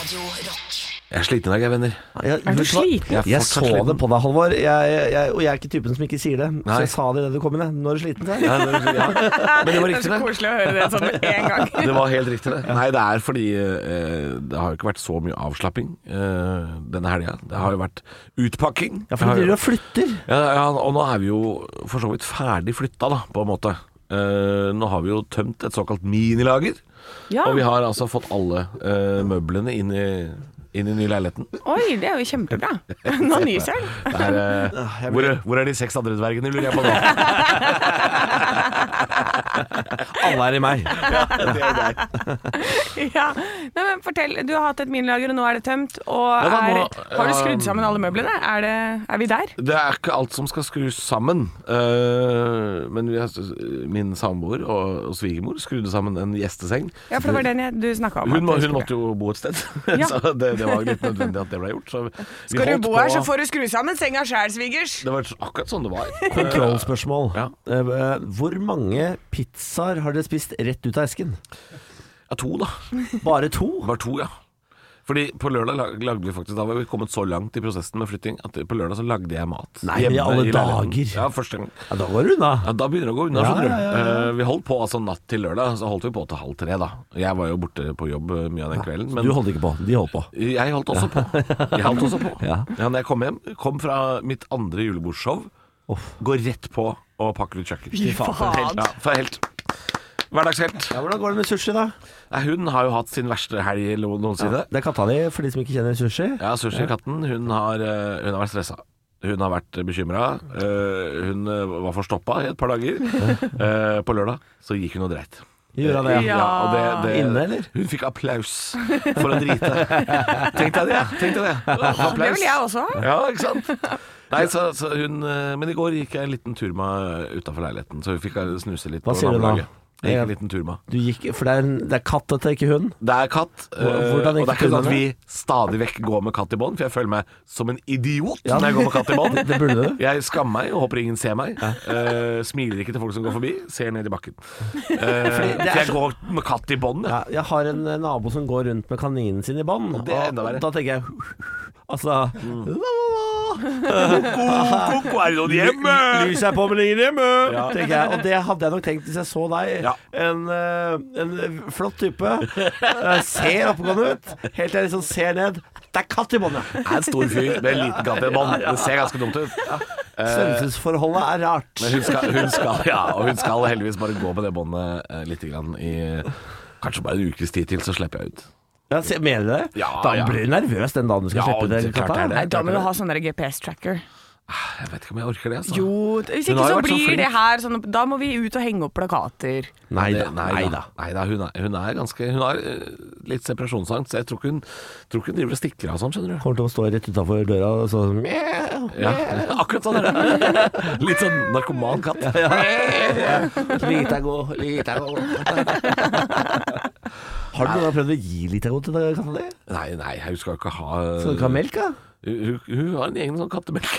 Speaker 4: Jeg er sliten i dag, jeg, venner.
Speaker 3: Jeg,
Speaker 5: Er du
Speaker 3: vet hva?
Speaker 5: sliten?
Speaker 3: Jeg,
Speaker 4: Jeg er
Speaker 3: så
Speaker 4: fortsatt sliten.
Speaker 3: det på deg, Halvor. Jeg, jeg, og jeg er ikke typen som ikke sier det.
Speaker 4: Nei.
Speaker 3: Så jeg sa det idet du kom inn. jeg. Nå er du sliten. sa jeg.
Speaker 4: Ja, det, ja. Men det var
Speaker 5: Det er
Speaker 4: riktig,
Speaker 5: så
Speaker 4: det.
Speaker 5: koselig å høre det sånn med en gang.
Speaker 4: Det var helt riktig, det. Nei, det er fordi eh, det har jo ikke vært så mye avslapping eh, denne helga. Det har jo vært utpakking.
Speaker 3: Ja, for du
Speaker 4: Det har jo-
Speaker 3: driver og flytter.
Speaker 4: Ja, ja, og nå er vi jo for så vidt ferdig flytta, da, på en måte. Eh, nå har vi jo tømt et såkalt minilager,
Speaker 5: Ja.
Speaker 4: og vi har altså fått alle eh, møblene inn i, inn i den nye leiligheten.
Speaker 5: Oi, det er jo kjempebra. Nå nyser han.
Speaker 4: Det er, eh, hvor, hvor er de seks andre dvergene, lurer jeg på nå?
Speaker 3: Alle er i meg.
Speaker 5: Ja. Nei, men fortell, du har hatt et minilager, og nå er det tømt. Og
Speaker 4: da,
Speaker 5: er,
Speaker 4: nå- um,
Speaker 5: har du skrudd sammen alle møblene? Er, det, er vi der?
Speaker 4: Det er ikke alt som skal skrus sammen. Eh, men vi har, min samboer og, og svigermor skrudde sammen en gjesteseng.
Speaker 5: Ja, for det var den jeg, du snakka om.
Speaker 4: Hun,
Speaker 5: at
Speaker 4: må,
Speaker 5: du
Speaker 4: hun
Speaker 5: skulle.
Speaker 4: måtte jo bo et sted,
Speaker 5: Ja.
Speaker 4: så det, det var litt nødvendig at det ble gjort. Så vi
Speaker 5: Skal du
Speaker 4: holdt
Speaker 5: bo
Speaker 4: på-
Speaker 5: her, så får du skru sammen senga sjæl, svigers.
Speaker 4: Det var akkurat sånn det var.
Speaker 3: Kontrollspørsmål.
Speaker 4: Ja.
Speaker 3: Eh, Hvor mange pizzaer har dere spist rett ut av esken?
Speaker 4: Ja, to, da.
Speaker 3: Bare to?
Speaker 4: Det var to, ja. Fordi på lørdag lag- lagde vi faktisk Da var vi kommet så langt i prosessen med flytting at på lørdag så lagde jeg mat.
Speaker 3: Nei, men i alle
Speaker 4: leiligheten.
Speaker 3: dager.
Speaker 4: Ja, første gang.
Speaker 3: Ja, da går det unna.
Speaker 4: Ja, da begynner det å gå unna.
Speaker 3: Ja,
Speaker 4: skjønner du.
Speaker 3: ja, ja,
Speaker 4: Eh, vi holdt på altså natt til lørdag, så holdt vi på til halv tre, da. Jeg var jo borte på jobb eh, mye av den kvelden.
Speaker 3: Du holdt ikke på. De holdt på.
Speaker 4: Jeg holdt også på. Jeg holdt også på.
Speaker 3: Ja.
Speaker 4: ja. når jeg kom hjem, kom fra mitt andre julebordshow,
Speaker 3: Uff.
Speaker 4: går rett på og pakker ut kjøkken. Fy
Speaker 5: faen.
Speaker 4: Helt, ja, for helt. Hverdagshelt.
Speaker 3: Ja, hvordan går det med sushi, da?
Speaker 4: Nei, Hun har jo hatt sin verste helg eller noe- noensinne.
Speaker 3: Det er katta di, for de som ikke kjenner sushi.
Speaker 4: Ja, sushikatten, hun, har, eh, hun har vært stressa. Hun har vært bekymra. Hun eh, var forstoppa i et par dager. Eh, På lørdag så gikk hun og dreit.
Speaker 3: Gjorde han det?
Speaker 5: Ja.
Speaker 4: og det, det,
Speaker 3: Inne, eller?
Speaker 4: Hun fikk applaus for å drite. Tenk deg det. Tenk deg det. Applaus.
Speaker 5: Det vil jeg også ha.
Speaker 4: Ja, ikke sant? Nei, så, så hun, eh, men i går gikk jeg en liten tur med henne utafor leiligheten, så vi fikk snuse litt
Speaker 3: Hva
Speaker 4: på
Speaker 3: sier hun da?
Speaker 4: nabolaget. Jeg gikk en liten tur med.
Speaker 3: Du gikk, for det er, en- det er katt dette, ikke hund.
Speaker 4: Det er katt, eh, og
Speaker 3: Hvordan
Speaker 4: det
Speaker 3: gikk
Speaker 4: er ikke sånn
Speaker 3: turene?
Speaker 4: at vi stadig vekk går med katt i bånd, for jeg føler meg som en idiot når jeg går med katt i bånd.
Speaker 3: Det burde du.
Speaker 4: Jeg skammer meg og håper ingen ser meg. Eh, smiler ikke til folk som går forbi, ser ned i bakken. Eh, for jeg går med katt i bånd. jeg.
Speaker 3: Ja, jeg har en eh, nabo som går rundt med kaninen sin i bånd.
Speaker 4: det er enda verre. Mm.
Speaker 3: Da tenker jeg Altså
Speaker 4: Ko-ko, er det noen hjemme?
Speaker 3: Lyset er på, men ingen hjemme!
Speaker 4: Ja.
Speaker 3: Tenker jeg. Og det hadde jeg nok tenkt hvis jeg så deg.
Speaker 4: Ja.
Speaker 3: En, eh, en flott type. eh, Ser oppegående ut. Helt til jeg liksom ser ned. Det er katt i båndet!
Speaker 4: Det er en stor fyr med en liten katt i bånd. Det ser ganske dumt ut.
Speaker 3: Størrelsesforholdet er rart.
Speaker 4: Men hun skal, hun skal, ja, og hun skal heldigvis bare gå med det båndet eh, litt grann i Kanskje bare en ukes tid til, så slipper jeg ut.
Speaker 3: Ja, se- mener du det?
Speaker 4: Ja,
Speaker 3: da
Speaker 4: ja.
Speaker 3: blir du nervøs den dagen du skal
Speaker 4: Ja,
Speaker 3: slippe det.
Speaker 4: det- klart
Speaker 3: katta.
Speaker 4: det er det.
Speaker 5: Nei, da må du ha sånn der GPS-tracker.
Speaker 4: Jeg vet ikke om jeg orker det. Altså.
Speaker 5: Jo, t- hvis
Speaker 4: Hun
Speaker 5: ikke
Speaker 4: har jo
Speaker 5: så
Speaker 4: vært så
Speaker 5: blir
Speaker 4: flink.
Speaker 5: det her sånn Da må vi ut og henge opp plakater.
Speaker 3: Nei
Speaker 4: Det-
Speaker 3: da. Nei da.
Speaker 4: Nei da, hun, er, hun er ganske Hun har eh, litt separasjonsangst, så jeg tror ikke hun, tror ikke hun driver og stikker av sånn, skjønner du.
Speaker 3: Kommer til å stå rett utafor døra og sånn mjau.
Speaker 4: Ja, akkurat sånn er det. Litt sånn narkoman katt.
Speaker 3: Litago, Litago. Har du noen gang prøvd å gi Litago til deg, katta di?
Speaker 4: Nei, nei, hun skal ikke ha
Speaker 3: Så du ikke har
Speaker 4: Øh.
Speaker 3: melk, da?
Speaker 4: Hun, hun, hun har en egen sånn kattemelk.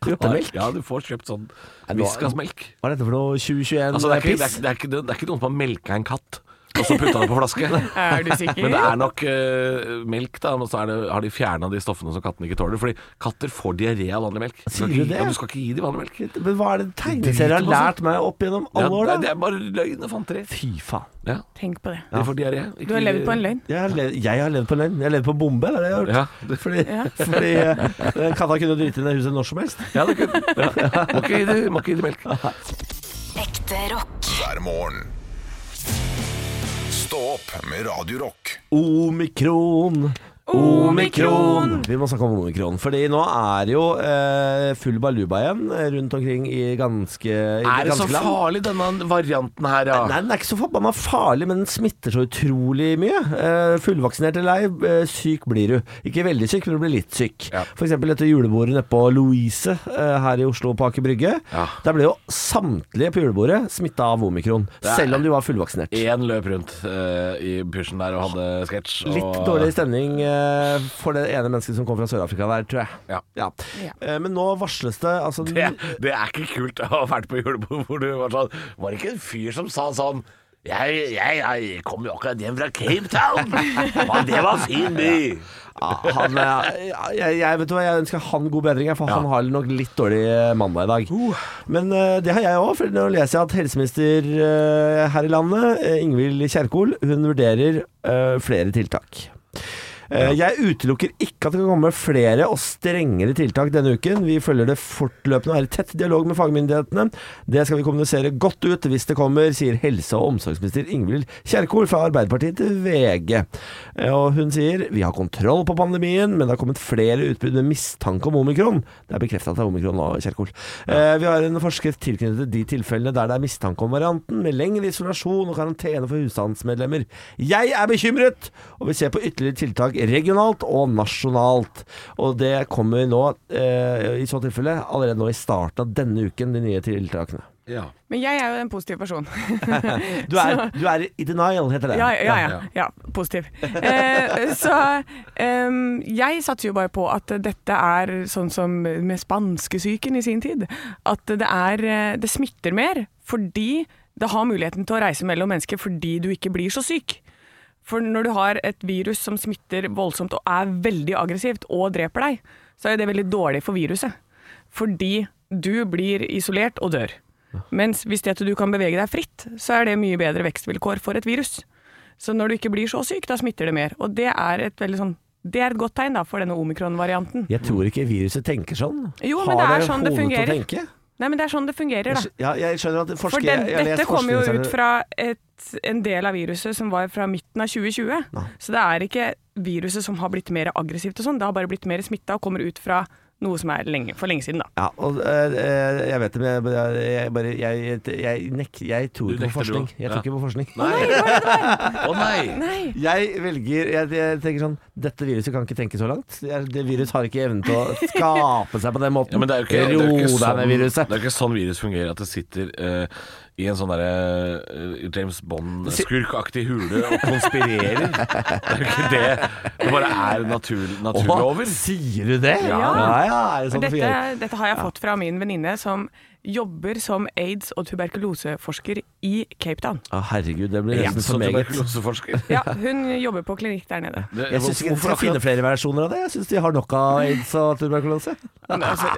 Speaker 3: Kattemelk?
Speaker 4: Ja, du får kjøpt sånn
Speaker 3: du har-
Speaker 4: Viskas-melk.
Speaker 3: Hva er dette for noe 2021-piss?
Speaker 4: Altså, det, er ikke, det, er, det, er ikke, det er ikke noen som har melka en katt og så putta det på flaske.
Speaker 5: Er du sikker?
Speaker 4: Men det er nok eh, melk, da. Men så er det, har de fjerna de stoffene som kattene ikke tåler. Fordi katter får diaré av vanlig melk.
Speaker 3: Sier
Speaker 4: Du skal
Speaker 3: du
Speaker 4: ikke-
Speaker 3: det?
Speaker 4: Ja, men du skal ikke gi dem vanlig melk.
Speaker 3: Men hva er det tegneserier har
Speaker 4: Driter på seg.
Speaker 3: lært meg opp gjennom
Speaker 4: altså. Ja,
Speaker 3: alle år,
Speaker 4: det
Speaker 3: da?
Speaker 4: er bare løgn og fanteri.
Speaker 3: Fy faen.
Speaker 4: Ja,
Speaker 5: Tenk på det.
Speaker 4: de får diaré.
Speaker 5: Du har levd på en løgn.
Speaker 3: Jeg har levd, jeg har levd på en løgn. Jeg har levd på en bombe, det er det jeg har gjort.
Speaker 4: Ja, du,
Speaker 3: Fordi, fordi eh, katta kunne drite inn i huset når som helst.
Speaker 4: ja, det kunne ja. Må ikke gi dem- må ikke gi dem melk.
Speaker 1: Ekte rock.
Speaker 2: hver morgen. Stå opp med Radio Rock.
Speaker 3: Omikron.
Speaker 5: Omikron.
Speaker 3: Vi må snakke om omikron, fordi nå er det jo eh, full baluba igjen rundt omkring i ganske i
Speaker 4: Er det
Speaker 3: ganske
Speaker 4: så
Speaker 3: land.
Speaker 4: farlig, denne varianten her,
Speaker 3: Nei,
Speaker 4: ja?
Speaker 3: den er ikke så forbanna farlig, men den smitter så utrolig mye. Eh, fullvaksinert eller ei, eh, syk blir du. Ikke veldig syk, men du blir litt syk.
Speaker 4: Ja.
Speaker 3: For eksempel dette julebordet nede på Louise eh, her i Oslo på Aker Brygge.
Speaker 4: Ja.
Speaker 3: Der ble jo samtlige på julebordet smitta av omikron,
Speaker 4: er-
Speaker 3: selv om de var fullvaksinert.
Speaker 4: Én løp rundt eh, i pysjen der og hadde sketsj. og-
Speaker 3: Litt dårlig stemning eh, for det ene mennesket som kom fra Sør-Afrika der, tror jeg.
Speaker 4: Ja.
Speaker 5: Ja.
Speaker 3: Eh, men nå varsles det altså,
Speaker 4: Det, det er ikke kult å ha vært på julebord hvor du var sånn Var det ikke en fyr som sa sånn jeg, jeg, jeg kom jo akkurat hjem fra Cape Town, men det var fin by.
Speaker 3: ja, han, eh, jeg, jeg, vet du hva, jeg ønsker han god bedring, jeg, for han har nok litt dårlig eh, mandag i dag.
Speaker 4: Uh.
Speaker 3: Men eh, det har jeg òg, for nå leser jeg at helseminister eh, her i landet, eh, Ingvild Kjerkol, hun vurderer eh, flere tiltak. Eh, Jeg utelukker ikke at det kan komme flere og strengere tiltak denne uken. Vi følger det fortløpende og er i tett dialog med fagmyndighetene. Det skal vi kommunisere godt ut hvis det kommer, sier helse- og omsorgsminister Ingvild Kjerkol fra Arbeiderpartiet til VG. Eh, Og hun sier vi har kontroll på pandemien, men det har kommet flere utbrudd med mistanke om omikron. Det er bekrefta at det er omikron nå, Kjerkol. Eh, Vi har en forskrift tilknyttet de tilfellene der det er mistanke om varianten, med lengre isolasjon og karantene for husstandsmedlemmer. Jeg er bekymret og vil se på ytterligere tiltak regionalt og nasjonalt. Og det kommer nå, eh, i så tilfelle, allerede nå i starten av denne uken, de nye tiltakene.
Speaker 5: Men jeg er jo en positiv person.
Speaker 3: Du er, du er i denial, heter det.
Speaker 5: Ja, ja, ja. ja positiv. Eh, så ehm, jeg satser jo bare på at dette er sånn som med spanskesyken i sin tid. At det, er, eh, det smitter mer fordi det har muligheten til å reise mellom mennesker fordi du ikke blir så syk. For når du har et virus som smitter voldsomt og er veldig aggressivt og dreper deg, så er det veldig dårlig for viruset. Fordi du blir isolert og dør. Mens hvis det at du kan bevege deg fritt, så er det mye bedre vekstvilkår for et virus. Så når du ikke blir så syk, da smitter det mer. Og det er et veldig sånn det er et godt tegn da, for denne omikron-varianten.
Speaker 3: Jeg tror ikke viruset tenker sånn.
Speaker 5: Jo, men det er sånn
Speaker 3: hodet
Speaker 5: det
Speaker 3: til å
Speaker 5: fungerer.
Speaker 3: tenke?
Speaker 5: Nei, men det er sånn det fungerer, da.
Speaker 3: Ja, jeg skjønner at
Speaker 5: For
Speaker 3: Altså, forsker,
Speaker 5: den,
Speaker 3: jeg har lest
Speaker 5: dette kommer jo
Speaker 3: forskningsarbeid-
Speaker 5: ut fra et, en del av viruset som var fra midten av 2020. Så det er ikke viruset som har blitt mer aggressivt og sånn, det har bare blitt mer smitta og kommer ut fra noe som er lenge, for lenge siden, da.
Speaker 3: Ja, og eh, eh, jeg vet det, men jeg, bare- jeg bare Jeg, jeg, jeg, nek, jeg tror
Speaker 4: Du
Speaker 3: ikke på
Speaker 4: nekter, du
Speaker 3: forskning.
Speaker 4: også.
Speaker 3: Jeg
Speaker 4: Ja.
Speaker 3: tror ikke på forskning.
Speaker 4: Å nei!
Speaker 5: Nei!
Speaker 3: Jeg velger jeg, jeg tenker sånn Dette viruset kan ikke tenke så langt. Jeg, det virus har ikke evnen til å skape seg på den måten.
Speaker 4: Ja, men det er jo ikke, det er jo
Speaker 3: Ro
Speaker 4: ikke
Speaker 3: deg
Speaker 4: sånn,
Speaker 3: ned,
Speaker 4: det
Speaker 3: viruset.
Speaker 4: er ikke sånn virus fungerer, at det sitter eh, i en sånn derre eh, James Bond-skurkaktig hule og konspirerer. Det er jo ikke det. Det bare er natur, naturlover.
Speaker 3: sier du det?
Speaker 5: Ja.
Speaker 3: ja, ja er det
Speaker 5: For
Speaker 3: sånn det
Speaker 5: dette,
Speaker 3: fungerer?
Speaker 5: dette har jeg fått fra min venninne som jobber som aids- og tuberkuloseforsker i Cape Town.
Speaker 3: Å, herregud, det blir
Speaker 4: Ja,
Speaker 3: nesten
Speaker 4: så
Speaker 3: for meget.
Speaker 4: tuberkuloseforsker.
Speaker 5: Ja, hun jobber på klinikk der nede.
Speaker 4: Det-
Speaker 3: Jeg syns ikke de
Speaker 4: hvorfor
Speaker 3: skal finne
Speaker 4: akkurat-
Speaker 3: flere versjoner av det. Jeg syns de har nok av aids og tuberkulose.
Speaker 5: Men altså,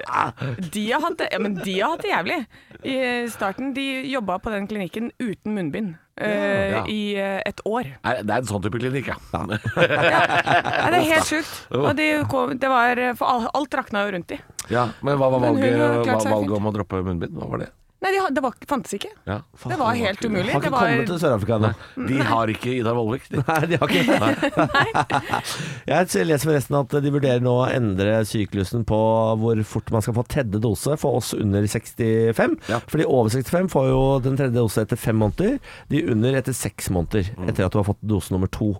Speaker 5: de har hatt det, ja, men de har hatt det jævlig. I starten de jobba på den klinikken uten munnbind eh,
Speaker 4: Ja.
Speaker 5: i eh, et år.
Speaker 4: Nei, Det er en sånn type klinikk, ja.
Speaker 5: Nei, det er helt sjukt. Og de kom, det var, eh, for al- alt rakna jo rundt de.
Speaker 4: ja. Men hva var
Speaker 5: Men hun
Speaker 4: valget,
Speaker 5: har klart
Speaker 4: hva-
Speaker 5: seg
Speaker 4: valget
Speaker 5: fint.
Speaker 4: om å droppe munnbind? Hva var det?
Speaker 5: Nei, de, ha- det var, fantes ikke.
Speaker 4: Ja.
Speaker 5: Det var helt umulig.
Speaker 3: Har ikke
Speaker 5: Det var,
Speaker 3: kommet til Sør-Afrika ennå.
Speaker 4: De har ikke Ida Vollvik. de.
Speaker 3: Nei, de har ikke Jeg leser forresten at de vurderer nå å endre syklusen på hvor fort man skal få tredje dose for oss under 65.
Speaker 4: Ja.
Speaker 3: For de over 65 får jo den tredje dose etter fem måneder, de under etter seks måneder
Speaker 4: Mm.
Speaker 3: etter at du har fått dose nummer to.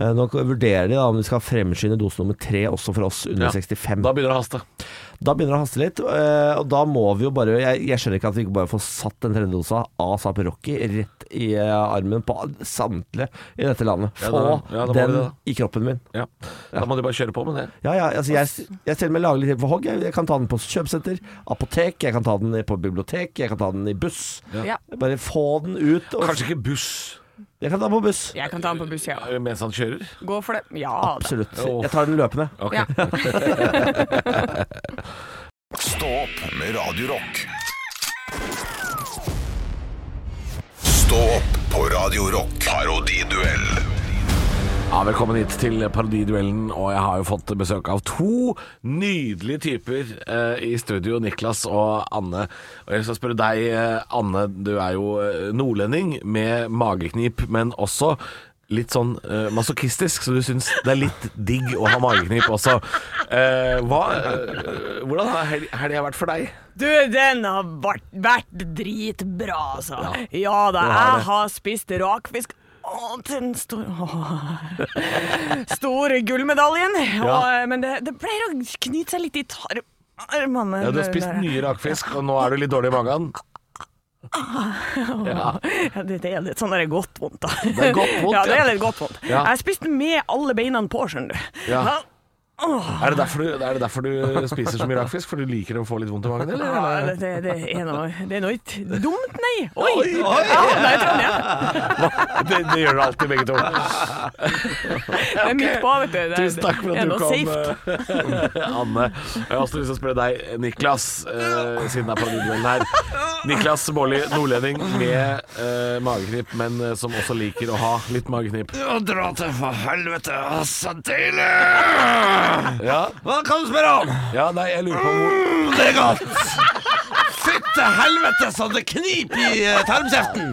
Speaker 3: Eh, Nå vurderer de da om de skal fremskynde dose nummer tre også for oss under
Speaker 4: Ja.
Speaker 3: 65.
Speaker 4: Da begynner det å haste.
Speaker 3: Da begynner det å haste litt, eh, og da må vi jo bare Jeg, jeg skjønner ikke at vi ikke bare får satt den tredje dosa ASAP Rocky rett i eh, armen på samtlige i dette landet.
Speaker 4: Ja,
Speaker 3: Få
Speaker 4: da- ja, da må
Speaker 3: den
Speaker 4: vi det, da.
Speaker 3: i kroppen min.
Speaker 4: Ja. Da må de bare kjøre på med det.
Speaker 3: Ja, ja, altså jeg, jeg selv meg lager litt tid for hogg. Jeg, jeg kan ta den på kjøpesenter, apotek, jeg kan ta den på bibliotek, jeg kan ta den i buss.
Speaker 5: Ja.
Speaker 3: Bare få den ut. Og,
Speaker 4: Kanskje ikke buss
Speaker 3: Jeg kan ta den på buss.
Speaker 5: Jeg kan ta den på buss, ja.
Speaker 4: eh, mens han kjører.
Speaker 5: Gå for det. Ja da.
Speaker 3: Absolutt.
Speaker 4: Åh.
Speaker 3: Jeg tar den løpende.
Speaker 4: Ok.
Speaker 5: Ja.
Speaker 2: Stå opp med Radio Rock. Stå opp på Radio Rock. Parodiduell.
Speaker 4: Ja, velkommen hit til Parodiduellen, og jeg har jo fått besøk av to nydelige typer eh, i studio, Niklas og Anne. Og jeg skal spørre deg, eh, Anne, du er jo eh, nordlending med mageknip, men også litt sånn eh, masochistisk, så du syns det er litt digg å ha mageknip også. Eh, hva, eh, hvordan har hel- helga vært for deg?
Speaker 5: Du, den har vært, vært dritbra, altså. Ja, da,
Speaker 4: har det.
Speaker 5: jeg har spist rakfisk. Å, den store Store gullmedaljen.
Speaker 4: Ja.
Speaker 5: Og, eh, men det, det pleier å knyte seg litt i tar- armene.
Speaker 4: Ja, du har spist
Speaker 5: der.
Speaker 4: mye rakfisk, og nå er du litt dårlig i magen.
Speaker 5: Ja, det, det er litt sånn der godt vondt, da.
Speaker 4: Det er godt vondt,
Speaker 5: ja. det
Speaker 4: ja.
Speaker 5: er litt godt vondt.
Speaker 4: Ja.
Speaker 5: Jeg har spist med alle beina på, skjønner du.
Speaker 4: Ja.
Speaker 5: Ja,
Speaker 4: Er det derfor du, er det derfor du spiser så mye rakfisk? For du liker å få litt vondt i magen, eller?
Speaker 5: Ja, det, det, det er noe, det er noe ikke dumt, nei. Oi! Ja, det er Trondheim.
Speaker 4: Det, det gjør du alltid, begge to.
Speaker 5: Det er midt på, vet du. Det,
Speaker 4: Tusen takk for
Speaker 5: det
Speaker 4: at
Speaker 5: er
Speaker 4: du
Speaker 5: noe
Speaker 4: kom,
Speaker 5: safe.
Speaker 4: eh, Anne. Jeg har også lyst til å spørre deg, Niklas, eh, siden det er parodiduellen her. Niklas Baarli, nordlending med eh, mageknip, men eh, som også liker å ha litt mageknip.
Speaker 3: Å, dra til for helvete, altså deilig!
Speaker 4: Ja,
Speaker 3: Hva kan du spørre om?
Speaker 4: ja nei, jeg lurer på hvor
Speaker 3: Det er godt! Fytte helvete så det kniper i eh, tarmkjeften!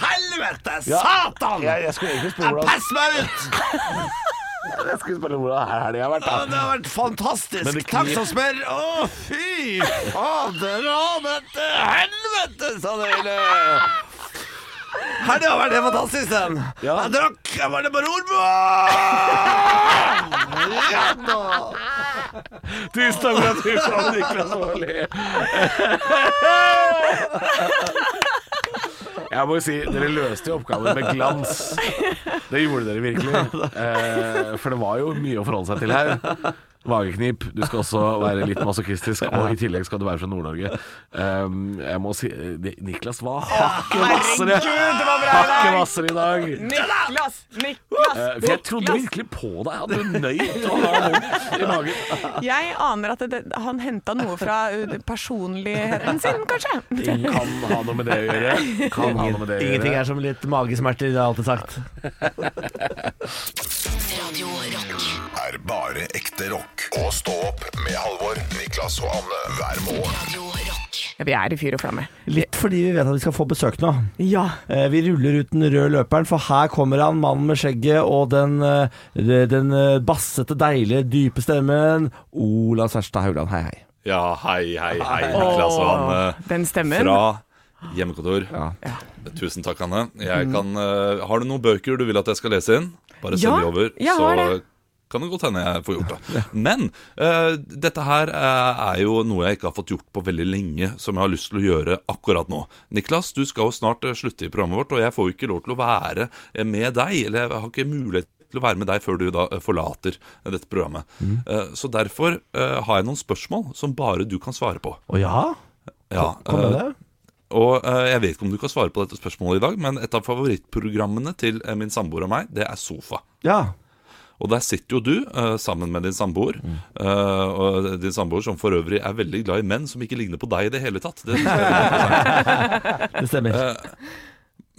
Speaker 3: Helvete! Satan!
Speaker 4: jeg, jeg skulle egentlig spørre hvordan,
Speaker 3: Pass meg ut!
Speaker 4: jeg skulle spørre hvordan her helga har vært.
Speaker 3: Ja,
Speaker 4: da.
Speaker 3: Det har vært
Speaker 4: Men
Speaker 3: fantastisk.
Speaker 4: det
Speaker 3: Takk
Speaker 4: knip-
Speaker 3: som spør. Å, fy fader. Å, men til helvete, sa det hele. Helga har vært helt fantastisk, den.
Speaker 4: Ja.
Speaker 3: Jeg drakk Jeg var det på Rormo! Ja, da.
Speaker 4: Tusen takk for at du kom, Niklas Baarli. Jeg må jo si, dere løste jo oppgaven med glans. Det gjorde dere virkelig. Eh, for det var jo mye å forholde seg til her. Mageknip. Du skal også være litt masochistisk, og i tillegg skal du være fra Nord-Norge. Um, jeg må si eh, det- Niklas var hakket hvassere.
Speaker 5: Herregud, det var bra i dag.
Speaker 4: Hakket hvassere i dag.
Speaker 5: Niklas, Niklas,
Speaker 4: Eh, for jeg trodde virkelig på deg at du nøyt å ha vondt i magen.
Speaker 5: Jeg aner at det, han henta noe fra uh, personligheten sin, kanskje.
Speaker 4: Kan ha noe med det å gjøre. Kan ha noe med det å
Speaker 3: Ingenting
Speaker 4: gjøre.
Speaker 3: er som litt magesmerter, det har jeg alltid sagt.
Speaker 1: Radio Rock.
Speaker 2: Er bare ekte rock. Og stå opp med Halvor, Niklas og Anne hver morgen.
Speaker 1: Radio Rock.
Speaker 5: Vi er i fyr og flamme.
Speaker 3: Litt fordi vi vet at vi skal få besøk nå.
Speaker 5: Ja.
Speaker 3: Eh, Vi ruller ut den røde løperen, for her kommer han, mannen med skjegget og den, eh, den eh, bassete, deilige, dype stemmen. Ola Sverstad Haugland, hei hei.
Speaker 8: Ja, hei, hei, hei, Niklas og
Speaker 3: eh,
Speaker 8: Anne
Speaker 5: Den stemmen.
Speaker 8: fra hjemmekontor. Tusen takk, Anne. Jeg kan, eh, har du noen bøker du vil at jeg skal lese inn? Bare send
Speaker 5: Ja,
Speaker 8: de over,
Speaker 5: jeg har
Speaker 8: så
Speaker 5: det.
Speaker 8: kan det godt hende jeg får gjort det. Men eh, dette her eh, er jo noe jeg ikke har fått gjort på veldig lenge, som jeg har lyst til å gjøre akkurat nå. Niklas, du skal jo snart eh, slutte i programmet vårt, og jeg får jo ikke lov til å være eh, med deg. Eller jeg har ikke mulighet til å være med deg før du da eh, forlater eh, dette programmet. Eh, så derfor eh, har jeg noen spørsmål som bare du kan svare på.
Speaker 3: Å ja?
Speaker 8: Ja,
Speaker 3: Kom med
Speaker 8: eh,
Speaker 3: det.
Speaker 8: og eh, jeg vet ikke om du kan svare på dette spørsmålet i dag, men et av favorittprogrammene til eh, min samboer og meg, det er Sofa.
Speaker 3: Ja.
Speaker 8: Og der sitter jo du eh, sammen med din samboer. eh, og din samboer som for øvrig er veldig glad i menn som ikke ligner på deg i det hele tatt. Det synes jeg er veldig interessant.
Speaker 3: Det stemmer.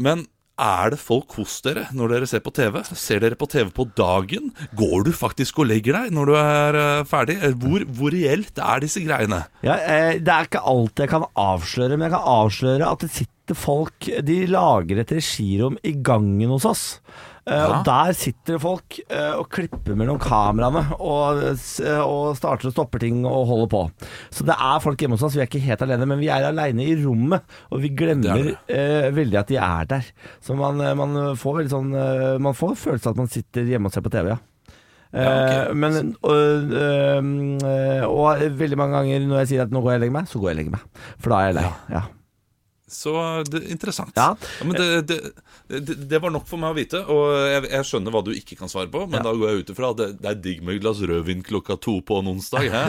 Speaker 8: Men er det folk hos dere når dere ser på TV? Ser dere på TV på dagen? Går du faktisk og legger deg når du er eh, ferdig? Eh, Hvor, hvor reelt er disse greiene?
Speaker 3: Ja, eh, det er ikke alt jeg kan avsløre, men jeg kan avsløre at det sitter folk De lager et regirom i gangen hos oss. Eh, og Der sitter det folk eh, og klipper mellom kameraene og, s- eh, og starter og stopper ting og holder på. Så det er folk hjemme hos oss. Vi er ikke helt alene, men vi er alene i rommet. Og vi glemmer
Speaker 8: Det
Speaker 3: eh, veldig at de er der. Så man, eh, man får veldig sånn eh, Man får følelse av at man sitter hjemme og ser på TV, ja.
Speaker 8: Ja, ok.
Speaker 3: Eh, Men og, øhm, øh, og veldig mange ganger når jeg sier at nå går jeg og legger meg, så går jeg og legger meg. For da er jeg lei. Ja.
Speaker 8: Så det, interessant.
Speaker 3: Ja.
Speaker 8: men det, det, det, det var nok for meg å vite, og jeg, jeg skjønner hva du ikke kan svare på, men da går jeg ut ifra at det, det er digg med et glass rødvin klokka to på en onsdag. Hæ?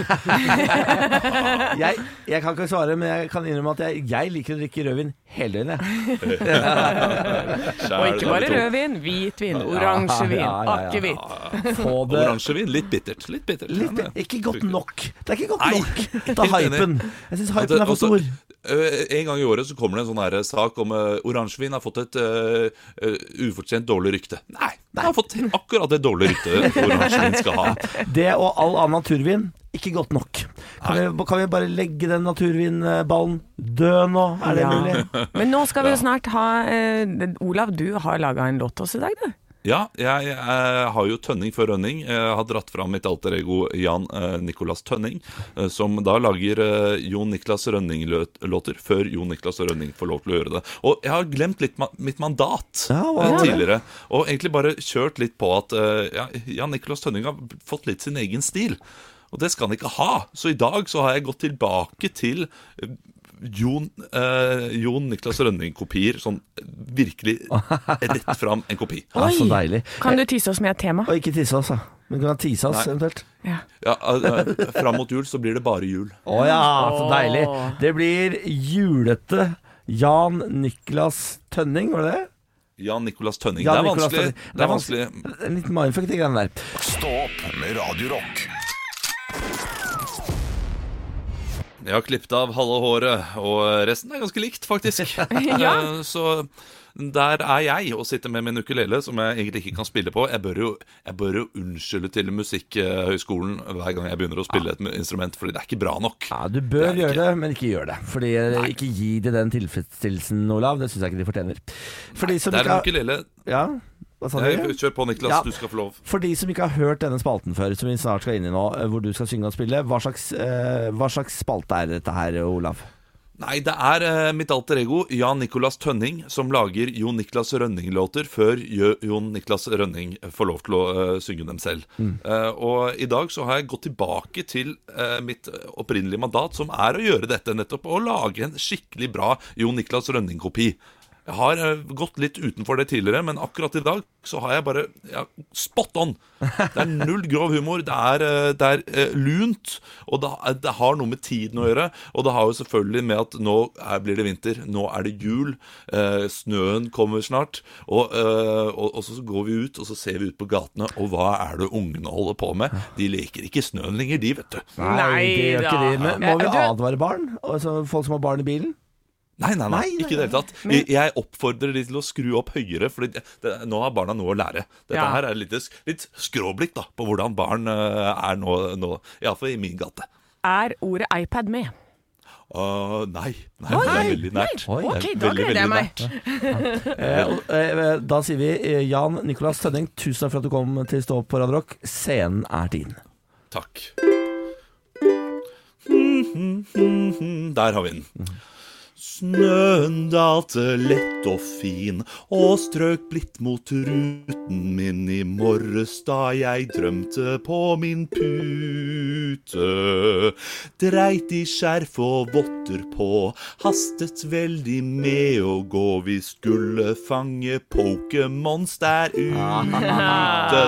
Speaker 3: Jeg, jeg kan ikke svare, men jeg kan innrømme at jeg, jeg liker å drikke rødvin hele døgnet. jeg.
Speaker 5: Og ikke bare rødvin. Hvitvin, oransjevin,
Speaker 3: Ja, ja, ja, ja.
Speaker 5: akevitt.
Speaker 3: Få det
Speaker 8: Oransjevin. Litt bittert. Litt bittert.
Speaker 3: litt,
Speaker 8: Men,
Speaker 3: Ikke godt nok. Det er ikke godt
Speaker 8: Nei,
Speaker 3: nok.
Speaker 8: helt
Speaker 3: Det er
Speaker 8: enig.
Speaker 3: hypen. Jeg syns
Speaker 8: at det-
Speaker 3: hypen er for
Speaker 8: også,
Speaker 3: stor.
Speaker 8: ø, eh, En gang i året så kommer det en sånn her sak om uh, oransjevin har fått et ø, ø, ufortjent dårlig rykte. Nei, den har fått akkurat det dårlige ryktet oransjevin skal ha.
Speaker 3: Det og all annen naturvin, ikke godt nok. Kan vi, kan vi bare legge den naturvinballen død nå? Er det
Speaker 5: Ja.
Speaker 3: mulig?
Speaker 5: Men nå skal vi jo snart ha eh, Olav, du har laga en låt til oss i dag, du.
Speaker 8: Ja, jeg, eh, har jo Tønning før Rønning. Jeg har dratt fram mitt alter ego Jan eh, Nicolas Tønning, eh, som da lager eh, Jon Niklas Rønning-låter før Jon Niklas Rønning får lov til å gjøre det. Og jeg har glemt litt ma mitt mandat
Speaker 3: Ja, hva
Speaker 8: eh,
Speaker 3: var det?
Speaker 8: tidligere, og egentlig bare kjørt litt på at eh, ja, Jan Nicolas Tønning har fått litt sin egen stil. Og det skal han ikke ha. Så i dag så har jeg gått tilbake til eh, Jon, eh, Jon Niklas Rønning-kopier, sånn virkelig rett fram en kopi.
Speaker 3: Ja, så deilig.
Speaker 5: Kan du tise oss med et tema?
Speaker 3: Og ikke tise oss, da. Men kan tise oss, eventuelt.
Speaker 5: Ja.
Speaker 8: Ja, eh, eh, Fram mot jul så blir det bare jul.
Speaker 3: Å ja, så deilig. Det blir julete Jan Niklas Tønning, var det det?
Speaker 8: Jan Nicolas Tønning.
Speaker 3: Jan
Speaker 8: det, er
Speaker 3: Nicolas
Speaker 8: vanskelig,
Speaker 3: Tønning.
Speaker 8: det er vanskelig.
Speaker 3: vanskelig. Eh, En liten mindfuck, de greiene der.
Speaker 2: Stå opp med Radio Rock.
Speaker 8: Jeg har klippet av halve håret, og resten er ganske likt, faktisk.
Speaker 5: Ja.
Speaker 8: Eh, Så der er jeg og sitter med min ukulele, som jeg egentlig ikke kan spille på. Jeg bør jo, jeg bør jo unnskylde til Musikkhøgskolen hver gang jeg begynner å spille et instrument, fordi det er ikke bra nok.
Speaker 3: Ja, du bør
Speaker 8: Det er
Speaker 3: gjøre det, men ikke gjør det. Fordi eh, Ikke gi de den tilfredsstillelsen, Olav. Det syns jeg ikke de fortjener. For de som
Speaker 8: Det er
Speaker 3: ikke
Speaker 8: en
Speaker 3: har
Speaker 8: ukulele.
Speaker 3: Ja, hva sa
Speaker 8: Eh,
Speaker 3: du?
Speaker 8: Kjør på, Niklas.
Speaker 3: Ja.
Speaker 8: Du skal få lov.
Speaker 3: For de som ikke har hørt denne spalten før, som vi snart skal inn i nå, eh, hvor du skal synge og spille, hva slags, eh, hva slags spalte er dette her, Olav?
Speaker 8: Nei, det er eh, mitt alter ego, Jan Nicolas Tønning, som lager Jon Niklas Rønning-låter før Jø Jon Niklas Rønning får lov til å eh, synge dem selv. Eh, og i dag så har jeg gått tilbake til eh, mitt opprinnelige mandat, som er å gjøre dette nettopp, å lage en skikkelig bra Jon Niklas Rønning-kopi. Jeg har eh, gått litt utenfor det tidligere, men akkurat i dag så har jeg bare ja, spot on. Det er null grov humor. Det er, eh, det er eh, lunt, og det, er- det har noe med tiden å gjøre. Og det har jo selvfølgelig med at nå er, blir det vinter, nå er det jul, eh, snøen kommer snart. Og, eh, og, og så går vi ut, og så ser vi ut på gatene, og hva er det ungene holder på med? De leker ikke snøen lenger, de, vet du.
Speaker 3: det gjør
Speaker 5: Nei
Speaker 3: ikke
Speaker 5: da.
Speaker 3: de. Men må vi
Speaker 5: Eh, du-
Speaker 3: advare barn? Altså, folk som har barn i bilen?
Speaker 8: Nei, nei, nei,
Speaker 3: Nei, nei,
Speaker 8: ikke i det hele tatt. Jeg, jeg oppfordrer de til å skru opp høyere, for det, det, nå har barna noe å lære. Dette
Speaker 5: Ja.
Speaker 8: her er litt, litt skråblikk da, på hvordan barn eh, er nå, nå iallfall i min gate.
Speaker 5: Er ordet iPad med?
Speaker 8: Åh, nei, nei, det er veldig nært.
Speaker 3: Oi.
Speaker 8: Det er
Speaker 5: Ok, da
Speaker 8: veldig,
Speaker 5: gleder
Speaker 8: veldig
Speaker 5: jeg meg.
Speaker 8: nært.
Speaker 3: Eh, og, eh, Da sier vi eh, Jan Nicolas Tønning, tusen takk for at du kom til Stå opp på Radio Rock. Scenen er din.
Speaker 8: Takk. Der har vi den. Snøen dalte lett og fin og strøk blidt mot ruten min i morges da jeg drømte på min pute. Dreit i skjerf og votter på, hastet veldig med å gå. Vi skulle fange Pokémons der ute.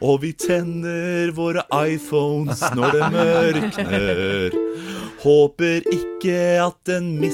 Speaker 8: Og vi tenner våre iPhones når det mørkner. Håper ikke at den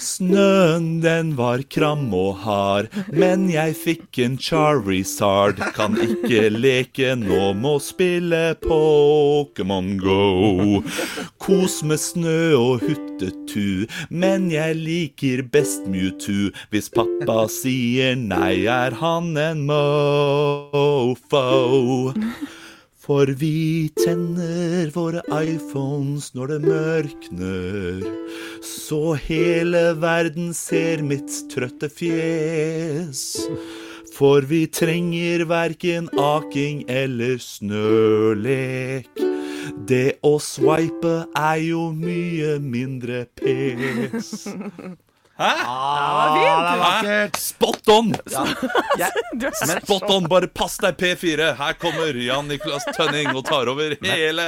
Speaker 8: Snøen den var kram og hard, men jeg fikk en Charizard. Kan ikke leke nå, må spille Pokémon Go. Kos med snø og huttetu, men jeg liker best Mewtwo. Hvis pappa sier nei, er han en mofo. For vi tenner våre iPhones når det mørkner, så hele verden ser mitt trøtte fjes. For vi trenger verken aking eller snølek. Det å swipe er jo mye mindre pes. Hæ? Spot on!
Speaker 5: Du er så
Speaker 8: Spot on, bare pass deg P4 Her kommer Jan Niklas Tønning Og tar over hele,